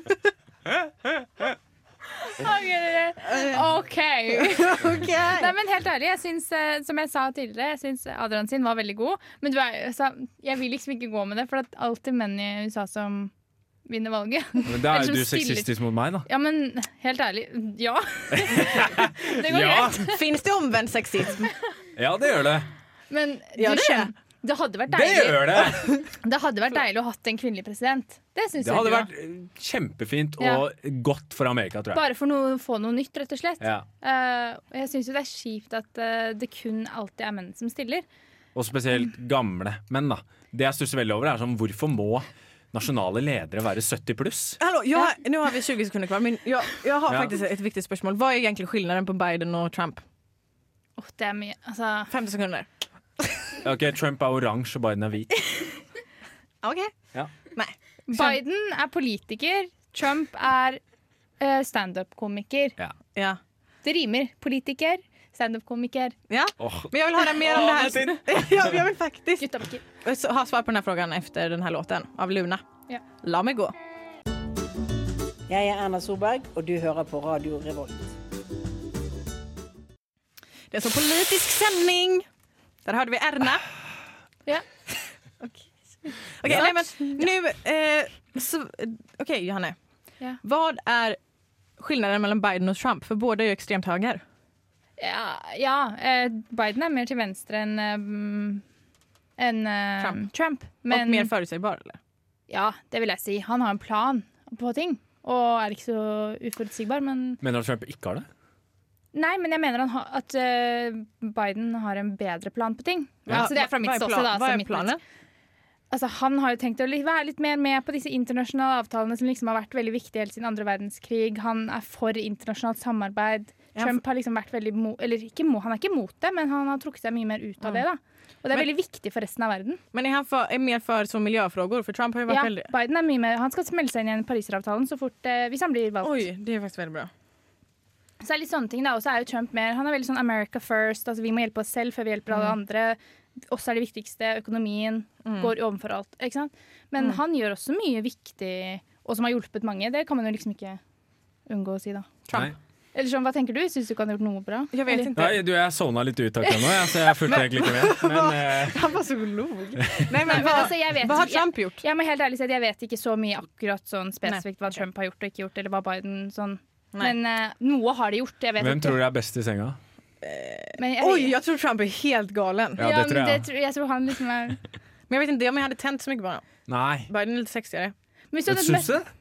Speaker 2: OK!
Speaker 1: Okej.
Speaker 2: Nei, men helt ærlig, jeg syns, eh, som jeg sa tidligere, jeg syns Adrian sin var veldig god. Men du er, så, jeg vil liksom ikke gå med det, for det er alltid menn i USA som vinner valget.
Speaker 3: Men Da er
Speaker 2: Eller
Speaker 3: jo du
Speaker 2: som stiller-
Speaker 3: sexistisk mot meg, da.
Speaker 2: Ja, men helt ærlig, ja. Det går
Speaker 3: Ja.
Speaker 2: greit.
Speaker 1: Finns det omvänd sexism?
Speaker 3: Ja, det gjør det.
Speaker 2: Men du
Speaker 1: Ja, det er
Speaker 2: skjøn- det hadde vært
Speaker 3: Det
Speaker 2: deilig
Speaker 3: gjør det!
Speaker 2: Det hadde vært deilig å hatt en kvinnelig president. Det syns
Speaker 3: Det
Speaker 2: jeg.
Speaker 3: hadde
Speaker 2: du, da.
Speaker 3: vært eh, kjempefint og godt for Amerika, tror jeg.
Speaker 2: Bare for å få noe nytt, rett og slett.
Speaker 3: Ja.
Speaker 2: Eh, og jeg syns jo det er kjipt at eh, det kun alltid er menn som stiller.
Speaker 3: Og spesielt gamle menn, da. Det jeg stusser veldig over, er sånn hvorfor må nasjonale ledere være 70 pluss?
Speaker 1: Hallå, jag, nu har vi 20 sekunder kvar, men jag, jag har
Speaker 3: Ja.
Speaker 1: faktiskt ett viktigt spörsmål. Vad är egentligen skillnaden på Biden och Trump?
Speaker 2: Åh, det er mye altså,
Speaker 1: 50 sekunder.
Speaker 3: Ok, Trump er oransje, og Biden er hvit.
Speaker 1: Okej.
Speaker 3: Ja.
Speaker 1: Nej.
Speaker 2: Biden er politiker, Trump er eh, standup-komiker.
Speaker 1: Ja.
Speaker 2: Det rimer. Politiker, standup-komiker,
Speaker 1: ja.
Speaker 3: Åh,
Speaker 1: Men jag vill höra mer om det här. jag, jag vill faktiskt
Speaker 2: guttabaker.
Speaker 1: Så ha svar på den här frågan efter den här låten av Luna.
Speaker 2: Ja.
Speaker 1: La mig gå.
Speaker 8: Jeg er Erna Solberg, og du hører på Radio Revolt.
Speaker 1: Det är så politisk sändning. Där hörde vi Erna.
Speaker 2: Ja.
Speaker 1: Okej, nej, men nu... Eh, så- eh, Okej, Johanne.
Speaker 2: Ja.
Speaker 1: Vad är skillnaden mellan Biden och Trump? För båda är ju extremt höger.
Speaker 2: Ja, ja eh, Biden er mer til venstre enn eh, enn, eh,
Speaker 1: Trump.
Speaker 2: Trump.
Speaker 1: Och mer förutsägbar, eller?
Speaker 2: Ja, det vil jeg si. Han har en plan på ting. Og er ikke så uforutsigbar, men
Speaker 3: Mener du at Trump ikke har det?
Speaker 2: Nei, men jeg mener han har, at eh, Biden har en bedre plan på ting. Altså, det er fra mitt
Speaker 1: Vad är
Speaker 2: ståsted.
Speaker 1: plan-
Speaker 2: da, altså
Speaker 1: Vad är
Speaker 2: mitt-
Speaker 1: planen?
Speaker 2: Altså, han har jo tenkt å li- være litt mer med på disse internasjonale avtalene som liksom har vært veldig viktige helt siden andre verdenskrig. Han er for internasjonalt samarbeid.
Speaker 1: Ja,
Speaker 2: Trump har liksom vært veldig mo Eller ikke mo han er ikke mot det, men han har trukket seg mye mer ut av det. da. Og det er
Speaker 1: Men-
Speaker 2: veldig viktig for resten av verden.
Speaker 1: Men är han för, är mer för så miljöfrågor? För Trump har ju varit
Speaker 2: Ja,
Speaker 1: väldigt...
Speaker 2: Biden er mye mer, Han skal melde seg inn igjen i Pariseravtalen så fort eh, hvis han blir valgt.
Speaker 1: Oj, det är faktiskt väldigt bra.
Speaker 2: Så det er litt sånne ting da, og så er jo Trump mer, Han er veldig sånn America first. altså Vi må hjelpe oss selv før vi hjelper
Speaker 1: Mm.
Speaker 2: alle andre. Oss er det viktigste. Økonomien går overfor alt. ikke sant? Men
Speaker 1: Mm.
Speaker 2: han gjør også mye viktig, og som har hjulpet mange. Det kan man jo liksom ikke unngå å si, da.
Speaker 1: Trump.
Speaker 3: Nei.
Speaker 2: Eller sånn, hva tenker du? Syns du ikke han har gjort noe bra?
Speaker 1: Jag vet
Speaker 2: Eller-
Speaker 1: inte.
Speaker 3: Nei, du, jeg sovna litt ut akkurat nå, jeg, så jeg fulgte egentlig ikke med. Men eh,
Speaker 1: Han var så log. Nej,
Speaker 2: Nei,
Speaker 1: men
Speaker 2: men
Speaker 1: vad,
Speaker 2: altså, jeg vet
Speaker 1: vad har
Speaker 2: ikke- jeg-
Speaker 1: Trump gjort?
Speaker 2: Jeg må helt ærlig si at jeg vet ikke så mye akkurat sånn spesifikt hva Trump har gjort og ikke gjort, eller hva Biden sånn.
Speaker 1: Nei.
Speaker 2: Men eh, noe har de gjort. Jeg vet
Speaker 3: hvem
Speaker 2: ikke.
Speaker 3: tror du er best i senga?
Speaker 2: Men jeg,
Speaker 1: Oj, jag tror Trump är helt galen.
Speaker 3: Ja,
Speaker 2: ja,
Speaker 3: det tror
Speaker 2: men
Speaker 3: jeg.
Speaker 2: det tror- jeg tror han liksom er
Speaker 1: Men jag vet inte om jag hade tänt så mycket på honom.
Speaker 3: Nei.
Speaker 1: Biden är lite sexigare.
Speaker 2: Men hvis du
Speaker 3: Men
Speaker 2: hadde
Speaker 3: Syns
Speaker 2: møtt
Speaker 3: du?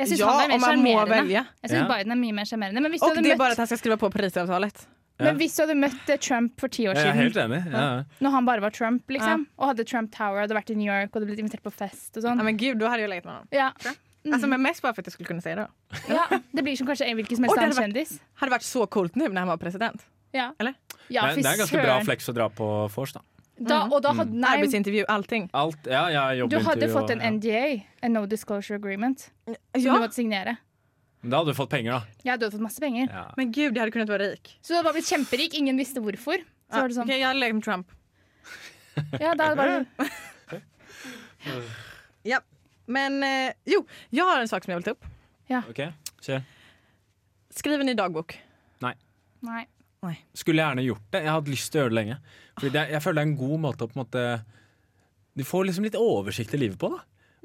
Speaker 2: Jeg syns
Speaker 1: Ja, om
Speaker 2: han er mer
Speaker 1: man må
Speaker 2: sjarmerende.
Speaker 1: välja.
Speaker 2: Jeg syns
Speaker 3: Ja.
Speaker 2: Biden er mye mer sjarmerende. Men, hvis du
Speaker 1: Och
Speaker 2: hadde
Speaker 1: det är bara
Speaker 2: møtt-
Speaker 1: att han ska skriva på Parisavtalet.
Speaker 2: men hvis du hadde møtt eh, Trump for ti år
Speaker 3: Jeg er
Speaker 2: siden,
Speaker 3: helt enig. Ja. ja.
Speaker 2: når han bare var Trump, liksom, og hadde Trump Tower, hadde vært i New York og hadde blitt invitert på fest og
Speaker 1: Ja,
Speaker 2: sånn
Speaker 1: men gud, då hade jag legat med honom.
Speaker 2: ja.
Speaker 1: Alltså, men mest bara för att jag skulle kunna säga det.
Speaker 2: ja, Det blir som kanskje en hvilken som
Speaker 1: Å,
Speaker 2: helst
Speaker 1: det hadde
Speaker 2: annen kjendis.
Speaker 1: Hade varit så coolt nu när han var president.
Speaker 2: Ja.
Speaker 1: Eller?
Speaker 2: Ja,
Speaker 3: det, er-
Speaker 2: fy
Speaker 3: det er ganske bra
Speaker 2: søren.
Speaker 3: flex å dra på vors, da.
Speaker 2: Da, og
Speaker 1: Mm.
Speaker 2: da hadde, nei,
Speaker 1: Arbetsintervju, allting.
Speaker 3: Alt, ja, ja,
Speaker 2: du hadde
Speaker 3: jobbintervju
Speaker 2: fått en
Speaker 3: og- ja.
Speaker 2: NDA, en No Disclosure Agreement, som du
Speaker 1: Ja,
Speaker 2: måtte signere.
Speaker 3: Men Da hadde du fått penger, da.
Speaker 2: Ja, du hadde fått masse penger.
Speaker 3: Ja.
Speaker 1: men gud, jag hade kunnat vara rik.
Speaker 2: Så du hadde bare blitt kjemperik, ingen visste hvorfor. Så
Speaker 1: Ja,
Speaker 2: var det sånn,
Speaker 1: okej, jag hade legat med Trump.
Speaker 2: ja, da var det
Speaker 1: Ja. Men eh, jo, jag har en sak som jag vill ta upp.
Speaker 3: Ok, kjør.
Speaker 1: Skriver ni dagbok?
Speaker 2: Nei.
Speaker 3: Skulle gjerne gjort det. Jeg har hatt lyst til å gjøre det lenge. Fordi det, er- jeg føler det er en god måte å på en måte Du får liksom litt oversikt i livet på, da.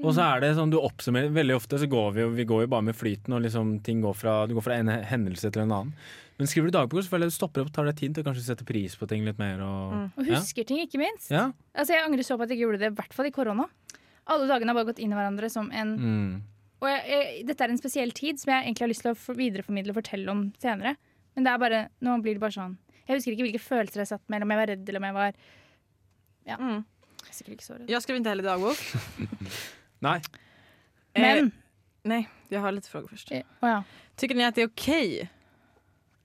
Speaker 3: Og så er det sånn, du oppsummerer Veldig ofte så går vi jo vi går jo bare med flyten, og liksom ting går fra Du går fra en hendelse til en annen. Men skriver du dagbok, så føler jeg du stopper opp, tar deg tid til å kanskje sette pris på ting litt mer. Mm. Og,
Speaker 2: Og husker ting, ikke minst.
Speaker 3: Ja. ja.
Speaker 2: Altså, jeg angrer så på at jeg ikke gjorde det, i hvert fall i korona. Alle dagene har bare gått inn i hverandre som en
Speaker 3: Mm.
Speaker 2: Og jeg, jeg, dette er en spesiell tid som jeg egentlig har lyst til å for- videreformidle og fortelle om senere. Men det er bare, nå blir det bare sånn. Jeg husker ikke hvilke følelser jeg satt med, eller om jeg var redd, eller om jeg var Ja.
Speaker 1: Mm.
Speaker 2: Jeg er sikkert ikke så redd.
Speaker 1: Jag skriver inte heller dagbok. Eh,
Speaker 3: Nei.
Speaker 2: Men
Speaker 1: Nej, jag har lite frågor först.
Speaker 2: eh, Å ja.
Speaker 1: Tycker ni att det är okej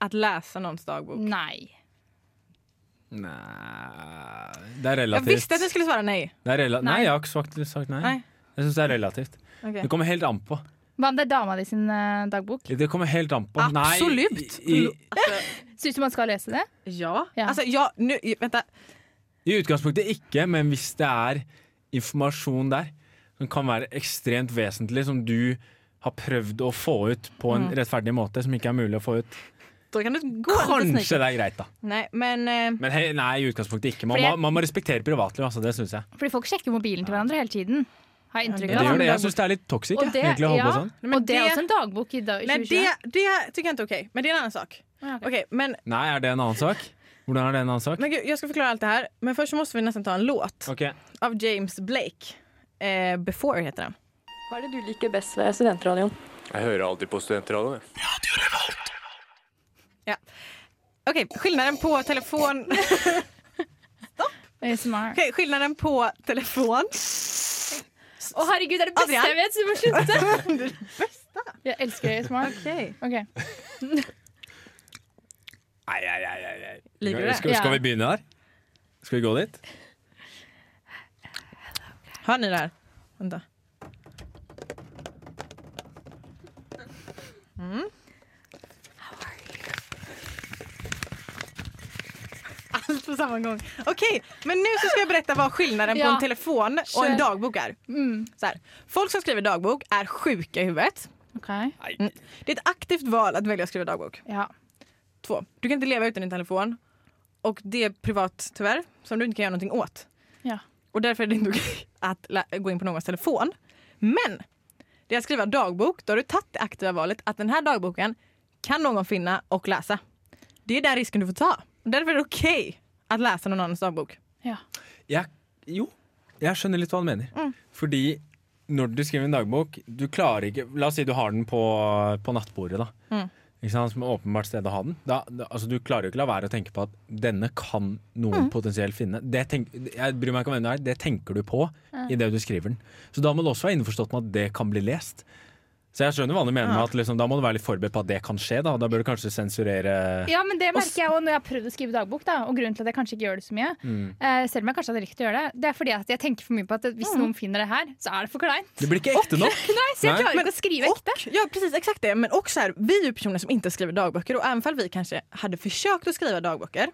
Speaker 1: att läsa någons dagbok?
Speaker 2: Nei.
Speaker 3: Nei Det er
Speaker 1: Jag
Speaker 3: relativt.
Speaker 1: visste att ni skulle svara nej.
Speaker 3: Det er rela nei.
Speaker 1: Nei.
Speaker 3: jeg har ikke sagt, sagt nei.
Speaker 1: Nei.
Speaker 3: Jeg syns det er relativt.
Speaker 1: Okej.
Speaker 3: Det kommer helt an på.
Speaker 2: Hva om det er dama di sin eh, dagbok?
Speaker 3: Det kommer helt an på. Nei,
Speaker 1: Absolut.
Speaker 3: I, i,
Speaker 1: Alltså,
Speaker 2: Syns du man skal lese det?
Speaker 1: ja.
Speaker 2: Ja.
Speaker 1: Alltså, ja nu, vänta.
Speaker 3: I utgangspunktet ikke, men hvis det er informasjon der som kan være ekstremt vesentlig, som du har prøvd å få ut på
Speaker 1: Mm.
Speaker 3: en rettferdig måte, som ikke er mulig å få ut,
Speaker 1: Då kan du gå lite
Speaker 3: kanskje
Speaker 1: sneaky.
Speaker 3: det er greit, da.
Speaker 1: Nej, men... Eh,
Speaker 3: Men hei, nei, i utgangspunktet ikke. Man,
Speaker 2: Fordi
Speaker 3: må,
Speaker 2: jeg-
Speaker 3: man må respektere privatliv, altså. Det syns jeg.
Speaker 2: Fordi folk sjekker mobilen til hverandre hele tiden. Har jeg inntrykk
Speaker 3: Det
Speaker 1: Ja,
Speaker 2: av.
Speaker 3: gjør
Speaker 1: men
Speaker 3: det.
Speaker 1: da-
Speaker 3: Jeg syns det er litt toxic,
Speaker 2: Og
Speaker 3: jeg,
Speaker 2: det,
Speaker 3: egentlig, å holde
Speaker 2: ja,
Speaker 3: på sånn.
Speaker 1: men
Speaker 2: og det er
Speaker 1: det-
Speaker 2: også en dagbok i dag.
Speaker 1: nej,
Speaker 2: 2020.
Speaker 1: det, det tycker jag inte är okej. Men det är en annan sak.
Speaker 2: Ja, ok.
Speaker 1: Okej, men,
Speaker 3: Nei, er det en annen sak? Hvordan er det en annen sak?
Speaker 1: men gud, jag ska förklara allt det här. Men först så måste vi nästan ta en låt
Speaker 3: Ok,
Speaker 1: av James Blake. Eh, Before heter den.
Speaker 9: Hva er det du liker best ved studentradioen?
Speaker 10: Jeg hører alltid på studentradioen. jeg.
Speaker 1: Okej, skillnaden på telefon...
Speaker 2: ASMR.
Speaker 1: Okej, skillnaden på telefon...
Speaker 2: Å herregud, det er det beste
Speaker 1: Adrian?
Speaker 2: jeg vet! Så du må slutte! Jeg elsker ASMR.
Speaker 1: Okej.
Speaker 2: Ok.
Speaker 3: Nei, nei, nei, nei, nei.
Speaker 1: Liker du
Speaker 3: Skal,
Speaker 1: det?
Speaker 3: skal, skal vi begynne her? Skal vi gå dit?
Speaker 1: Hör ni det här? Vänta. Mm. Allt på samma gång. Okej, men nu så ska jag berätta vad skillnaden på
Speaker 2: Ja.
Speaker 1: en telefon och en
Speaker 2: Kör. Mm.
Speaker 1: dagbok är. Så här. Folk som skriver dagbok är sjuka i huvudet.
Speaker 2: Ok.
Speaker 1: Det är ett aktivt val att välja att skriva dagbok.
Speaker 2: Ja.
Speaker 1: Två, du kan inte leva utan din telefon och det är privat tyvärr som du inte kan göra någonting åt.
Speaker 2: Ja.
Speaker 1: Och därför är det inte okej att lä- gå in på någons telefon. Men det är att skriva dagbok, då har du tagit det aktiva valet att den här dagboken kan någon finna och läsa. Det är den risken du får ta. Och därför är det okej att läsa någon annans dagbok.
Speaker 3: Jeg, jo, jeg skjønner litt hva han mener.
Speaker 2: Mm.
Speaker 3: Fordi når du skriver en dagbok du klarer ikke, La oss si du har den på, på nattbordet. da.
Speaker 2: Mm.
Speaker 3: Ikke sant, Som er åpenbart sted å ha den. Da, da, altså, du klarer jo ikke la være å tenke på at denne kan noen
Speaker 2: Mm.
Speaker 3: potensielt finne. Det tenk, jeg bryr meg ikke om hvem det er, det tenker du på i det du skriver den. Så da må du også være innforstått med at det kan bli lest. Så jeg skjønner hva du mener med at liksom, Da må du være litt forberedt på at det kan skje. Da, da bør du kanskje sensurere
Speaker 2: Ja, men det merker jeg også når jeg har prøvd å skrive dagbok. Da, og grunnen til at jeg kanskje ikke gjør det så mye,
Speaker 3: Mm.
Speaker 2: eh, selv om jeg kanskje hadde likt å gjøre det, det er fordi at jeg tenker for mye på at hvis
Speaker 1: Mm.
Speaker 2: noen finner det her, så er det for kleint.
Speaker 3: Det blir ikke ekte nok.
Speaker 2: Nei, så jeg
Speaker 3: Nei.
Speaker 2: klarer
Speaker 1: Men-
Speaker 2: ikke å skrive ekte.
Speaker 1: Och, ja precis, exakt det. Men också här, vi är ju personer som inte skriver dagböcker och även fall vi kanske hade försökt att skriva dagböcker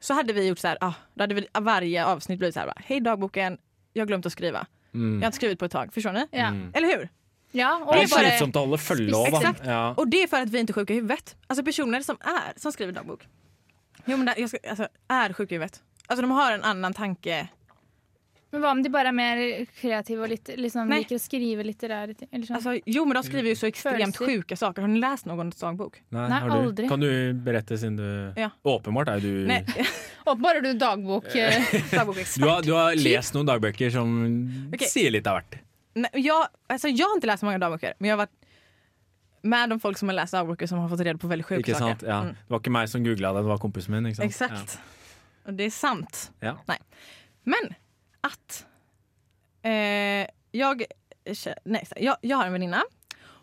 Speaker 1: så hade vi gjort så här, ah, då hade vi varje avsnitt
Speaker 3: Mm.
Speaker 1: blivit så här, bara, hej dagboken, jag har glömt att skriva. Jag har inte skrivit på ett tag, förstår ni?
Speaker 2: Ja.
Speaker 1: Eller hur?
Speaker 2: Ja, och
Speaker 3: Det är
Speaker 1: bara-
Speaker 3: slitsomt att hålla följe av. va?
Speaker 1: Exakt.
Speaker 3: Ja.
Speaker 1: Och det är för att vi inte är sjuka i huvudet. Alltså personer som är, som skriver dagbok. Jo men det- jag ska, alltså, är sjuka i huvudet. Alltså de har en annan tanke.
Speaker 2: Men hva om de bare er mer kreative og litt, liksom,
Speaker 1: Nei.
Speaker 2: liker å skrive litterære ting? Eller sånn.
Speaker 1: Alltså, jo men de skriver
Speaker 3: Mm.
Speaker 1: ju så extremt
Speaker 2: Födelser.
Speaker 1: sjuka saker. Har ni läst någons dagbok?
Speaker 3: Nej,
Speaker 2: Nej,
Speaker 3: har du,
Speaker 2: aldrig.
Speaker 3: kan du berätta sin du...
Speaker 1: Ja.
Speaker 3: Åpenbart är du...
Speaker 1: Nej, Altså-
Speaker 2: Åpenbart er du dagbok. eh,
Speaker 1: dagbokexpert.
Speaker 3: Du har, du har läst några dagböcker som
Speaker 1: Okej.
Speaker 3: ser lite av vart.
Speaker 1: Nej, jag, alltså, jag har inte läst så många dagböcker men jag har varit med de folk som har läst dagböcker som har fått reda på väldigt sjuka
Speaker 3: Ikke sant?
Speaker 1: saker.
Speaker 3: Ja.
Speaker 1: Mm,
Speaker 3: Det var ikke meg som googla det, det var kompisen min. Ikke sant?
Speaker 1: exakt. Och det är sant.
Speaker 3: Ja.
Speaker 1: Nej. Men att eh, jag, kä- nej, så här, jag, jag har en väninna.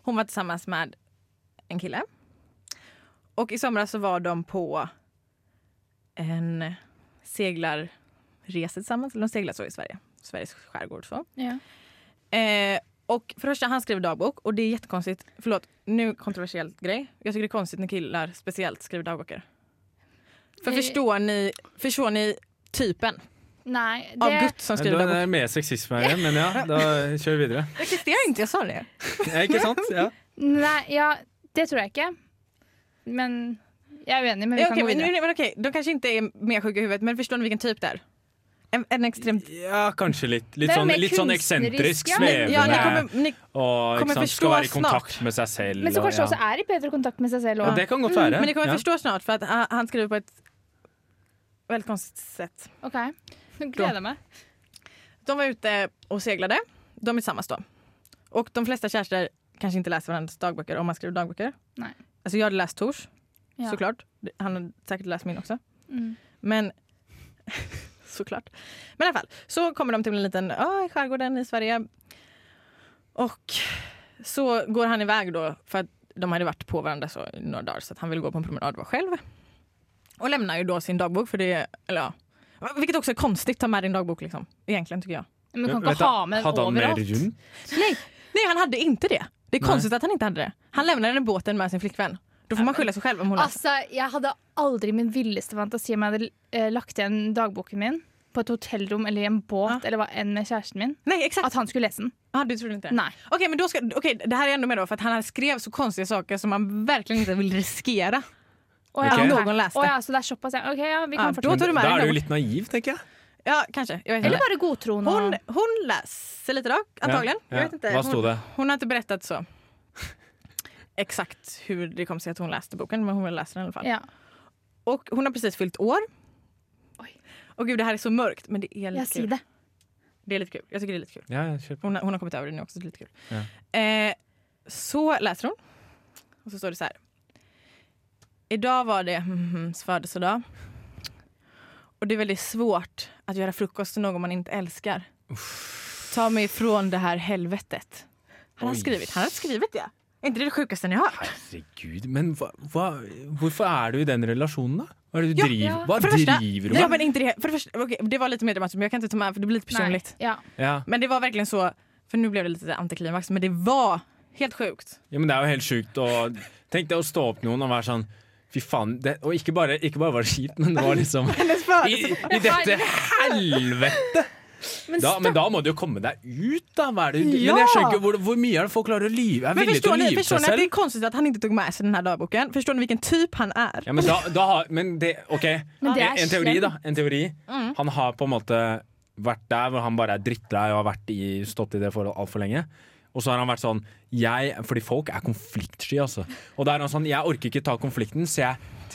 Speaker 1: Hon var tillsammans med en kille. Och i somras så var de på en seglarresa tillsammans. Eller de seglade så i Sverige. Sveriges skärgård så.
Speaker 2: ja.
Speaker 1: Eh, och för det första, han skrev dagbok och det är jättekonstigt. Förlåt, nu kontroversiell grej. Jag tycker det är konstigt när killar speciellt skriver dagböcker. För
Speaker 2: Eh.
Speaker 1: förstår ni, förstår ni typen
Speaker 2: Nei,
Speaker 1: av
Speaker 2: det,
Speaker 1: gutt som
Speaker 3: Ja.
Speaker 1: skriver
Speaker 3: Da er
Speaker 1: dagbok?
Speaker 3: det mer sexisme her igjen, men ja, da kjører vi videre.
Speaker 1: Det existerar inte, jag sa det.
Speaker 3: Ja, ikke sant? Ja.
Speaker 2: nei, ja, det tror jeg ikke. Men jeg er uenig, men vi
Speaker 1: Ja,
Speaker 2: kan
Speaker 1: okej,
Speaker 2: gå
Speaker 1: men, nu,
Speaker 2: videre.
Speaker 1: men okej, de kanske inte är mer sjuka i huvudet men förstår ni vilken typ det är? En, en extremt...
Speaker 3: ja kanskje litt.
Speaker 2: Det
Speaker 3: Litt
Speaker 2: er
Speaker 3: sånn,
Speaker 2: mer
Speaker 3: litt sånn
Speaker 2: kunstnerisk,
Speaker 3: eksentrisk,
Speaker 2: ja.
Speaker 3: svevende.
Speaker 1: Ja, ni kommer, ni, kommer
Speaker 3: og ikke sant,
Speaker 1: forstå
Speaker 3: skal være i
Speaker 1: snart.
Speaker 3: kontakt med seg selv.
Speaker 2: Men så
Speaker 3: og-
Speaker 2: kanskje
Speaker 3: ja.
Speaker 2: også er i bedre kontakt med seg selv
Speaker 3: ja,
Speaker 2: òg.
Speaker 3: Det kan godt være.
Speaker 1: Mm, men ni kommer
Speaker 3: ja.
Speaker 1: förstå snart för att han, han skriver på ett väldigt konstigt sätt.
Speaker 2: Ok, Nå gleder jeg meg.
Speaker 1: De var ute och seglade. De är tillsammans då. Och de flesta kärster kanske inte läser varandras dagböcker om man skriver dagböcker.
Speaker 2: Nej.
Speaker 1: Alltså jag hade läst Tors,
Speaker 2: Ja.
Speaker 1: såklart. Han hade säkert läst min också.
Speaker 2: Mm.
Speaker 1: Men såklart. Men i alla fall, så kommer de till en liten ö i skärgården i Sverige. Och så går han iväg då för att de hade varit på varandra så i några dagar så att han ville gå på en promenad var själv. Och lämnar ju då sin dagbok för det, eller ja. Vilket också är konstigt, ta med din dagbok liksom. Egentligen tycker jag.
Speaker 2: Men du kan
Speaker 3: Vet
Speaker 2: ikke
Speaker 3: du,
Speaker 2: ha med den
Speaker 3: Hadde han mer
Speaker 2: overalt.
Speaker 3: rundt?
Speaker 1: Nej, nej han hade inte det. Det är
Speaker 3: Nej.
Speaker 1: konstigt att han inte hade det. Han lämnade den båten med sin flickvän. Då får man skylla sig själv om hon läser.
Speaker 2: Altså, jeg hadde aldri min villeste fantasi om jeg hadde eh, lagt igjen dagboken min på et hotellrom eller i en båt eller hva enn med kjæresten min.
Speaker 1: Nej exakt.
Speaker 2: At han skulle lese den.
Speaker 1: Ja, du trodde inte det?
Speaker 2: Nei.
Speaker 1: Okej, men då ska, okej, det här är ändå med då för att han skrev så konstiga saker som man verkligen inte vill riskera.
Speaker 2: Å
Speaker 3: Ok.
Speaker 1: Någon läste.
Speaker 2: Å ja, så det er såpass, ja. Ok, ja, vi
Speaker 1: Ja,
Speaker 2: kan
Speaker 1: da
Speaker 2: fortsette.
Speaker 1: tar du med
Speaker 3: Da
Speaker 1: den
Speaker 3: er du jo
Speaker 1: dagbok.
Speaker 3: litt naiv, tenker jeg.
Speaker 1: Ja, kanske. Jag vet
Speaker 2: Eller
Speaker 1: inte.
Speaker 2: bare godtroende.
Speaker 1: Hon, hon läser lite då, antagligen.
Speaker 3: Ja.
Speaker 1: Jag vet inte.
Speaker 3: Hva sto
Speaker 1: Hon,
Speaker 3: det?
Speaker 1: hon har inte berättat så exakt hur det kom sig att hon läste boken, men hon vill läsa den i alla fall.
Speaker 2: Ja.
Speaker 1: Och hon har precis fyllt år.
Speaker 2: Oj.
Speaker 1: Och gud, det här är så mörkt, men det är lite
Speaker 2: Jeg
Speaker 1: kul.
Speaker 2: sier det.
Speaker 1: Det är lite kul. Jag tycker det är lite kul.
Speaker 3: Ja, jeg kjøper.
Speaker 1: Hon, har- hon har kommit över det nu också, så det är lite kul. Eh, så läser hon. Och så står det så här. Idag var det mhm, födelsedag. Och det är väldigt svårt att göra frukost till någon man inte älskar. Ta mig ifrån det här helvetet. Han har
Speaker 3: Oj.
Speaker 1: skrivit, han har skrivit det. Är inte det det sjukaste ni har hört?
Speaker 3: Herregud, men hva, hva, hvorfor er du i den relasjonen, da? Hva er det du
Speaker 1: Ja,
Speaker 3: driver,
Speaker 2: ja.
Speaker 3: hva
Speaker 1: För det första,
Speaker 3: driver du
Speaker 1: ja,
Speaker 3: med?
Speaker 1: men inte det, för det, första, okej, det var lite mer dramatiskt men jag kan inte ta med för det blir lite personligt.
Speaker 2: Nei. Ja.
Speaker 3: Ja.
Speaker 1: Men det var verkligen så, för nu blev det lite antiklimax, men det var helt sjukt.
Speaker 3: Ja, men det er jo helt sjukt å Tenk deg å stå opp noen og være sånn Fy faen. Det, og ikke bare, ikke bare var det kjipt, men det var liksom I, i dette helvete! Da, men da må du jo komme deg ut, da. Hva er det, du- Men jeg skjønner ikke hvor, hvor mye er det folk klarer å lyve? Er
Speaker 1: Men
Speaker 3: villige til
Speaker 1: förstår
Speaker 3: å
Speaker 1: ni,
Speaker 3: lyve
Speaker 1: förstår
Speaker 3: seg
Speaker 1: ni att det är
Speaker 3: selv?
Speaker 1: konstigt att han inte tog med sig den här dagboken? Förstår ni vilken typ han är?
Speaker 3: Ja, men da, da har Men det OK.
Speaker 2: Men det er Mm.
Speaker 3: en, en teori,
Speaker 2: slemt.
Speaker 3: da. En teori. Han har på en måte vært der hvor han bare er drittlei og har vært i, stått i det forholdet altfor lenge. Og så har han vært sånn jeg, Fordi folk er konfliktsky, altså. Og da er han sånn Jeg orker ikke ta konflikten, så jeg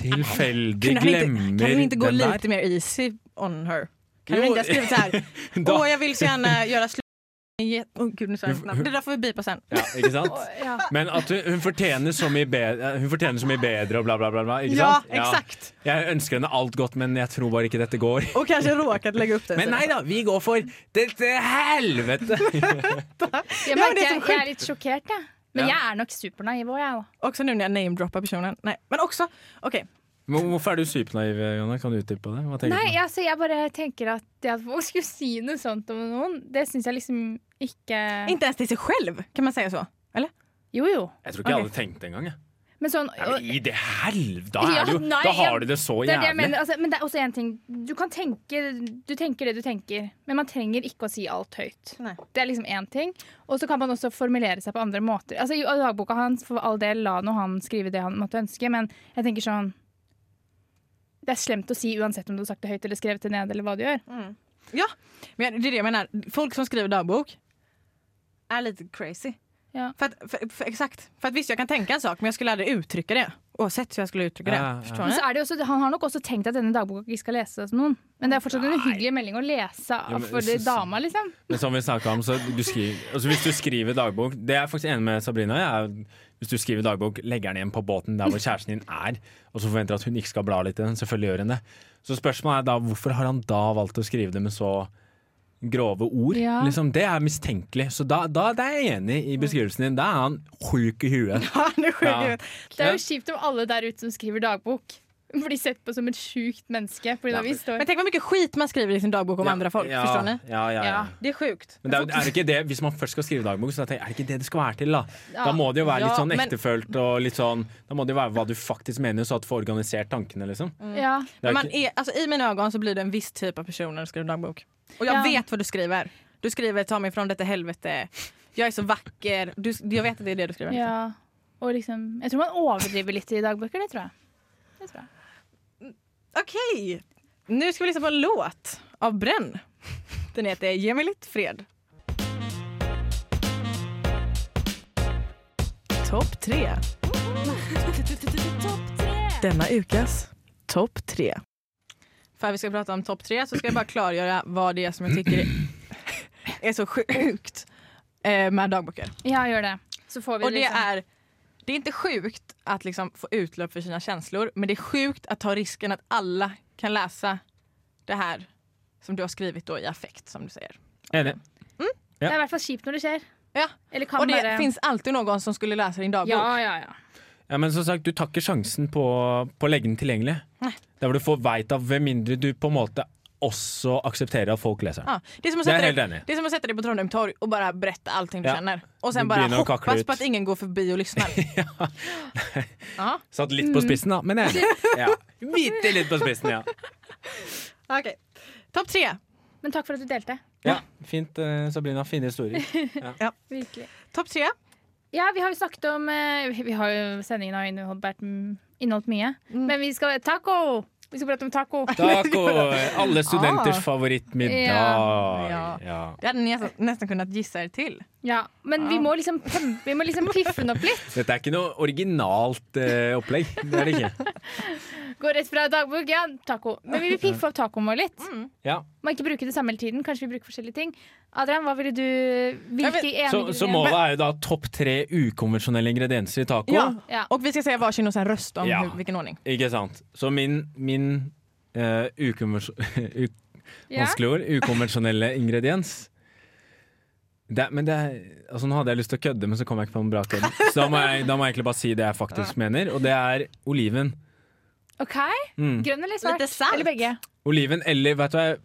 Speaker 3: tilfeldig
Speaker 1: Kunde han inte,
Speaker 3: glemmer
Speaker 1: kan han inte gå
Speaker 3: den der.
Speaker 1: lite mer easy on her? Kan
Speaker 3: Jo.
Speaker 1: han inte ha skrivit så här?
Speaker 3: Da-
Speaker 1: Åh, jag vill så gärna göra slut med get- Åh, gud, nu sa jag hans namn. Det där får vi bipa sen.
Speaker 3: Ja, ikke sant?
Speaker 2: Å, ja.
Speaker 3: Men at hun, hun, fortjener så mye bedre, hun fortjener så mye bedre og bla, bla, bla. bla ikke
Speaker 1: Ja,
Speaker 3: sant?
Speaker 1: exakt.
Speaker 3: Jeg ønsker henne alt godt, men jeg tror bare ikke dette går.
Speaker 1: Och kanske råkat lägga upp den.
Speaker 3: Men
Speaker 1: så.
Speaker 3: nei da, vi går for dette helvete!
Speaker 2: Jeg,
Speaker 1: Ja, men
Speaker 2: merker,
Speaker 1: det er
Speaker 2: jeg,
Speaker 1: så sjukt.
Speaker 2: jeg er litt sjokkert, jeg. Men
Speaker 3: Ja.
Speaker 2: jeg er nok supernaiv òg, jeg. da.
Speaker 1: Också nu när jag namedroppar personen. Nej, men också, okej.
Speaker 3: Men Hvorfor er du supernaiv, Jonna? Kan du utdype det? Hva tenker
Speaker 2: Nei,
Speaker 3: du på?
Speaker 2: altså, jeg bare tenker at det at folk skulle si noe sånt om noen, det syns jeg liksom ikke
Speaker 1: Inte ens till sig själv, kan man säga så? Eller?
Speaker 2: Jo, jo.
Speaker 3: Jeg tror ikke
Speaker 1: Ok.
Speaker 3: jeg hadde tenkt det engang. jeg.
Speaker 2: Men sånn
Speaker 3: Ja, men I det helvete! Da,
Speaker 2: Ja,
Speaker 3: er det jo,
Speaker 2: nei,
Speaker 3: da
Speaker 2: ja.
Speaker 3: har du det så
Speaker 2: det er det jeg
Speaker 3: jævlig.
Speaker 2: mener. Altså, men det er også en ting. Du kan tenke Du tenker det du tenker, men man trenger ikke å si alt høyt.
Speaker 1: Nei.
Speaker 2: Det er liksom én ting. Og så kan man også formulere seg på andre måter. Altså, I dagboka hans, for all del, la nå han skrive det han måtte ønske, men jeg tenker sånn Det er slemt å si uansett om du har sagt det høyt eller skrevet det ned, eller hva du gjør.
Speaker 1: Ja, men det är det jag menar. Folk som skriver dagbok är lite crazy.
Speaker 2: Ja.
Speaker 1: För att, för, för, exakt. För att visst, jag kan tänka en sak men jag skulle aldrig uttrycka det. Oavsett hur jag skulle uttrycka det.
Speaker 3: Ja, ja.
Speaker 1: Förstår
Speaker 2: Men
Speaker 1: ni?
Speaker 2: så er det jo også, han har nok også tenkt at denne dagboka ikke skal leses av noen. Men det er fortsatt en uhyggelig melding å lese
Speaker 3: Ja, men-
Speaker 2: for det dama, liksom.
Speaker 3: Men som vi snakket om, så du skriver, altså hvis du skriver dagbok Det er jeg faktisk enig med Sabrina i. er Hvis du skriver dagbok, legger den igjen på båten der hvor kjæresten din er, og så forventer at hun ikke skal bla litt i den. Selvfølgelig gjør hun det. Så spørsmålet er da hvorfor har han da valgt å skrive det med så grove ord?
Speaker 2: Ja.
Speaker 3: Liksom, det er mistenkelig. Så da, da det er jeg enig i beskrivelsen din. Da er han sjuk i huet.
Speaker 1: Ja, nu sjunger
Speaker 3: Ja.
Speaker 1: jag ut.
Speaker 2: Det er jo kjipt om alle der ute som skriver dagbok, blir sett på som et sjukt menneske. Fordi da vi står
Speaker 1: Men tänk vad mycket skit man skriver i sin dagbok om andra folk.
Speaker 3: Ja,
Speaker 1: Förstår ni?
Speaker 3: Ja, ja, ja.
Speaker 2: Ja.
Speaker 1: Det är sjukt.
Speaker 3: Men det er, jo- er det ikke det, hvis man først skal skrive dagbok, så tenker jeg, er det ikke det det skal være til? Da Da må det jo være litt
Speaker 1: Ja,
Speaker 3: sånn
Speaker 1: men-
Speaker 3: ektefølt, og litt sånn, da må det jo være hva du faktisk mener, så at du får organisert tankene. liksom
Speaker 1: Mm.
Speaker 2: Ja.
Speaker 3: det er
Speaker 1: Men man
Speaker 3: ikke,
Speaker 1: är, alltså, I mina ögon så blir du en viss typ av person när du skriver dagbok. Och jag
Speaker 2: Ja.
Speaker 1: vet vad du skriver. Du skriver ta mig från detta helvete. Jag är så vacker. Du, jag vet att det är det du skriver.
Speaker 2: ja. Og liksom Jeg tror man overdriver litt i dagbøker, det tror jeg. Det tror jeg.
Speaker 1: Okej! Nu ska vi lyssna på en låt av Brenn. Den heter Ge mig lite fred. Topp tre. Denna ukas topp tre. För vi ska prata om topp tre så ska jag bara klargöra vad det är som jag tycker är så sjukt eh, med dagböcker.
Speaker 2: Ja, gjør det. Så får vi
Speaker 1: Och det
Speaker 2: liksom
Speaker 1: är, det är inte sjukt att liksom få utlopp för sina känslor men det är sjukt att ta risken att alla kan läsa det här som du har skrivit då i affekt som du säger.
Speaker 3: enig.
Speaker 2: Det er i hvert fall kjipt når det skjer.
Speaker 1: Ja.
Speaker 2: Eller kan
Speaker 1: Och det
Speaker 2: være
Speaker 1: finns alltid någon som skulle läsa din dagbok.
Speaker 2: Ja, ja, ja.
Speaker 3: Ja, men som sagt, du tar ikke sjansen på, på å legge den tilgjengelig. Der hvor du får veit av, med mindre du på en måte også aksepterer at folk leser den.
Speaker 1: Ja, det, är som att
Speaker 3: Det är
Speaker 1: sätta
Speaker 3: helt
Speaker 1: dig,
Speaker 3: enig.
Speaker 1: det är som att sätta dig på Trondheim torg och bara berätta allting du
Speaker 3: Ja.
Speaker 1: känner. Och
Speaker 3: Du
Speaker 1: sen bara
Speaker 3: brinner och kacklar
Speaker 1: hoppas
Speaker 3: ut.
Speaker 1: på att ingen går förbi och lyssnar. ja.
Speaker 3: Satt litt
Speaker 1: Mm.
Speaker 3: på spissen, da, men enig. Ja. Bitte litt på spissen, ja.
Speaker 1: Okej. Topp tre.
Speaker 2: Men takk for at du delte.
Speaker 3: ja. Fint, eh, Sabrina. Fine historier.
Speaker 2: Virkelig.
Speaker 1: Topp tre.
Speaker 2: Ja, vi har jo snakket om eh, Vi vi har jo Sendingen har inneholdt, vært, mm, inneholdt mye. Men vi skal Taco! Vi skal prate om taco.
Speaker 3: Taco! Alle studenters
Speaker 1: Ah.
Speaker 3: favorittmiddag.
Speaker 1: Ja.
Speaker 3: Ja.
Speaker 1: Det hade ni nästan, nästan kunnat gissa er till.
Speaker 2: Ja, men
Speaker 1: Ah.
Speaker 2: vi må liksom pem- Vi må liksom piffe den opp litt.
Speaker 3: Dette er ikke noe originalt eh, opplegg. Det er det ikke.
Speaker 2: Gå rett fra dagbok, ja, taco. Men vi vil piffe opp tacoen vår litt.
Speaker 1: Mm.
Speaker 3: Ja.
Speaker 2: Må ikke bruke det samme hele tiden. Kanskje vi bruker forskjellige ting. Adrian, hva ville du Hvilke ene
Speaker 3: Så, så målet er jo da topp tre ukonvensjonelle ingredienser i taco.
Speaker 1: Ja.
Speaker 2: Ja.
Speaker 1: Och vi ska säga varsin och sen rösta om
Speaker 3: Ja.
Speaker 1: hur, vilken ordning.
Speaker 3: Ikke sant. Så min, min eh, ukonvens- u-
Speaker 2: Ja.
Speaker 3: vanskelig ord, ukonvensjonelle ingrediens det, er- men det er, altså Nå hadde jeg lyst til å kødde, men så kom jeg ikke på en bra kødd. Så da må, jeg, da må jeg egentlig bare si det jeg faktisk mener, og det er oliven.
Speaker 2: OK.
Speaker 3: Mm.
Speaker 2: Grønn eller svart?
Speaker 1: Lite salt.
Speaker 2: Eller begge?
Speaker 3: Oliven eller vet du hva jeg,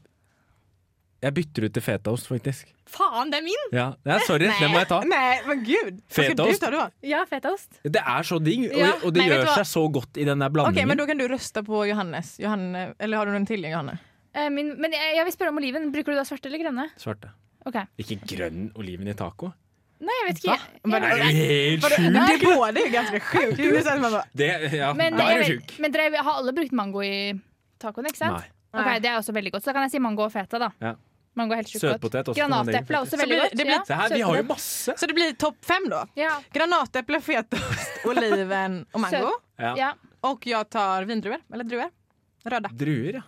Speaker 3: jeg bytter ut til fetaost, faktisk.
Speaker 1: Fan, det är min!
Speaker 3: Ja, det er, Sorry, den må jeg ta.
Speaker 1: Nej, men gud. Vad ska du
Speaker 3: Fetaost.
Speaker 1: ta då?
Speaker 2: Ja, fetaost.
Speaker 3: Det er så digg, og,
Speaker 1: Ja,
Speaker 3: og det
Speaker 1: men vet du
Speaker 3: gjør
Speaker 1: hva?
Speaker 3: seg så godt i den der
Speaker 1: Okej, men
Speaker 3: blandingen.
Speaker 1: då kan du rösta på Johannes. Johanne, eller har du någon till Johanne?
Speaker 2: Eh, min, men jeg, jeg vil spørre om oliven. Bruker du da svarte eller grønne?
Speaker 3: Svarte.
Speaker 2: OK.
Speaker 3: Ikke grønn oliven i taco?
Speaker 2: Nei, jeg vet ikke.
Speaker 1: Hva?
Speaker 2: Jeg,
Speaker 3: Er du helt sjuk?
Speaker 1: Det är båda är ganska sjukt. Det är så att man bara,
Speaker 3: Det, ja,
Speaker 2: men
Speaker 3: Ah, da
Speaker 2: jeg
Speaker 3: er du
Speaker 2: vet,
Speaker 3: sjuk.
Speaker 2: men dere, har alle brukt mango i tacoen, ikke sant?
Speaker 3: Nei.
Speaker 2: Ok, Det er også veldig godt. Så da kan jeg si mango og feta, da.
Speaker 3: Ja.
Speaker 2: Mango er helt sjukt
Speaker 3: Søtpotet
Speaker 2: godt.
Speaker 3: også kan man legge
Speaker 2: Granateple er også
Speaker 1: Så
Speaker 2: veldig
Speaker 1: blir det-
Speaker 2: godt.
Speaker 1: det blir-
Speaker 3: Se her, vi har jo
Speaker 2: Søtpotet.
Speaker 3: masse.
Speaker 1: så det blir topp fem då.
Speaker 2: ja.
Speaker 1: Granatäpple, fetaost, oliven och mango.
Speaker 2: Sött.
Speaker 3: Ja.
Speaker 2: Ja.
Speaker 1: Och jag tar vindruvor, eller druvor. Röda.
Speaker 3: Druer, ja.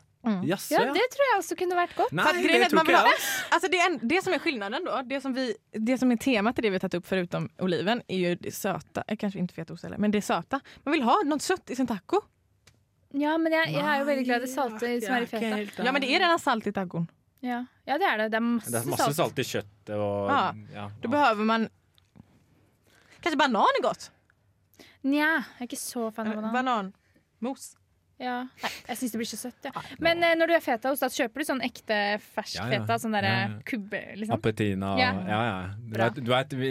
Speaker 3: Jaså,
Speaker 2: ja,
Speaker 3: ja.
Speaker 2: det tror jeg også kunne vært godt.
Speaker 3: Nei,
Speaker 1: För att grejen är
Speaker 3: det
Speaker 1: att man
Speaker 3: tror
Speaker 1: vill
Speaker 3: ikke
Speaker 1: ha,
Speaker 3: jeg.
Speaker 1: alltså det, är en, det som är skillnaden då, det som, vi, det som är temat i det vi har tagit upp förutom oliven är ju det söta, eh, kanske inte fetaost heller, men det söta. Man vill ha något sött i sin taco.
Speaker 2: Ja, men jeg, jeg er jo veldig glad i det salte som er i feta.
Speaker 1: Ja men det är redan salt i tacon.
Speaker 2: Ja, ja det er det. Det er masse,
Speaker 3: Det er masse
Speaker 2: salt.
Speaker 3: salt i kjøttet og
Speaker 1: Ja.
Speaker 3: ja.
Speaker 1: Då behöver man... Kanske banan är gott?
Speaker 2: Nja, jeg er ikke så fan
Speaker 1: Eh,
Speaker 2: av Eh, banan.
Speaker 1: Bananmos.
Speaker 2: Ja. Nei, jeg syns det blir så søtt. Ja. Men eh, når du er fetaost, da kjøper du sånn ekte fersk
Speaker 3: Ja, ja.
Speaker 2: feta? Sånn derre
Speaker 3: Ja, ja.
Speaker 2: kubbe, liksom?
Speaker 3: Appetina og
Speaker 2: Ja.
Speaker 3: Ja, ja. Du
Speaker 2: Bra.
Speaker 3: vet, du vet vi,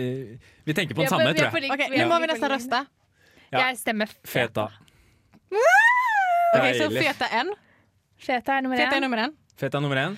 Speaker 3: vi tenker på
Speaker 2: Vi er
Speaker 3: den
Speaker 2: på-
Speaker 3: samme,
Speaker 2: vi er på
Speaker 3: tror jeg.
Speaker 2: lik-
Speaker 1: Okej,
Speaker 2: er
Speaker 1: nu
Speaker 2: på
Speaker 1: må vi
Speaker 2: lik
Speaker 1: nästan
Speaker 2: linje.
Speaker 1: rösta.
Speaker 3: Ja.
Speaker 2: Jeg stemmer feta.
Speaker 3: Feta.
Speaker 1: Okej, så
Speaker 3: Deilig.
Speaker 1: feta en.
Speaker 2: Feta er nummer
Speaker 1: Feta är
Speaker 2: én.
Speaker 1: nummer en.
Speaker 3: Feta nummer én.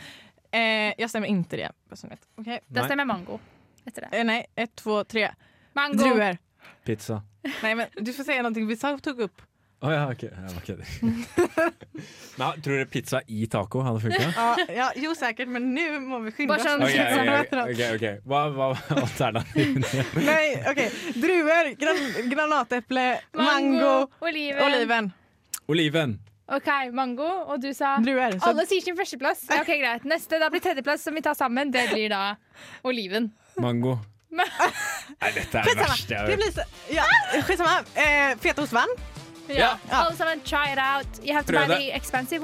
Speaker 1: Eh, jag stämmer inte det. personligt. Okej.
Speaker 2: Da
Speaker 3: Nei.
Speaker 2: stemmer jeg mango. Etter det.
Speaker 1: Eh, nej, ett, två, tre.
Speaker 2: Mango.
Speaker 1: Druvor.
Speaker 3: Pizza.
Speaker 1: Nej, men du får säga någonting vi sa- tog upp.
Speaker 3: Å ja, ok. Ja, ok. Men, tror dere pizza i taco hadde funka?
Speaker 1: Ja, ja, jo, säkert, men nu må vi skynda
Speaker 2: Bara sån-
Speaker 3: Ok,
Speaker 1: oss.
Speaker 3: ok, ok, ok. Hva var alternativene?
Speaker 1: Nej, okej. Druvor, gran granatäpple, mango,
Speaker 2: Mango. Oliven.
Speaker 1: oliven.
Speaker 3: Oliven.
Speaker 2: OK, mango. Og du sa
Speaker 1: Druvor. Så,
Speaker 2: Alle sier sin førsteplass. Ja, Ok, greit. Neste da blir tredjeplass, som vi tar sammen. Det blir da oliven.
Speaker 3: Mango.
Speaker 2: Men-
Speaker 3: Nei, dette er det verste
Speaker 1: skitsamma.
Speaker 3: jeg
Speaker 1: Det
Speaker 3: har hørt.
Speaker 1: blir så, ja, skitsamma. Eh, fetaost vann.
Speaker 2: Ja. Alle sammen, try it out. You have to buy
Speaker 3: Prøv det.
Speaker 2: the expensive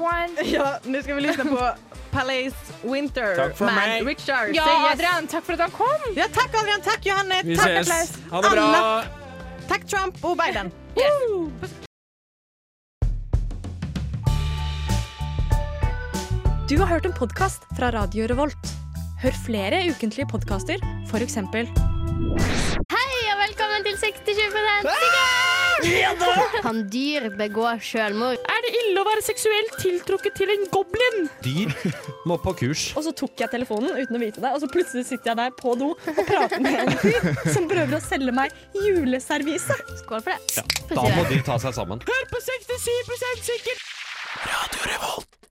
Speaker 2: one.
Speaker 1: Ja, nu ska vi lyssna på Palace Winter
Speaker 3: Tack för
Speaker 1: med
Speaker 3: mig.
Speaker 1: Richard.
Speaker 2: Ja,
Speaker 1: Säg yes.
Speaker 2: Adrian, takk for at han kom.
Speaker 1: Ja, tack Adrian, tack Johanne,
Speaker 3: Vi
Speaker 1: tack
Speaker 3: ses.
Speaker 1: Atlas.
Speaker 3: Ha det bra.
Speaker 1: Alla. Tack Trump och Biden.
Speaker 9: Du har hørt en podkast fra Radio Revolt. Hør flere ukentlige podkaster, f.eks.
Speaker 11: Hei og velkommen til 60-20 Kan dyr begå selvmord?
Speaker 9: Er det ille å være seksuelt tiltrukket til en goblin?
Speaker 4: Dyr må på kurs.
Speaker 9: Og så tok jeg telefonen uten å vite det, og så plutselig sitter jeg der på do og prater med en fyr som prøver å selge meg juleservise.
Speaker 11: Skål for det.
Speaker 4: Da må de ta seg sammen.
Speaker 9: Hør på 67 sikkert!
Speaker 4: Radio Revolt.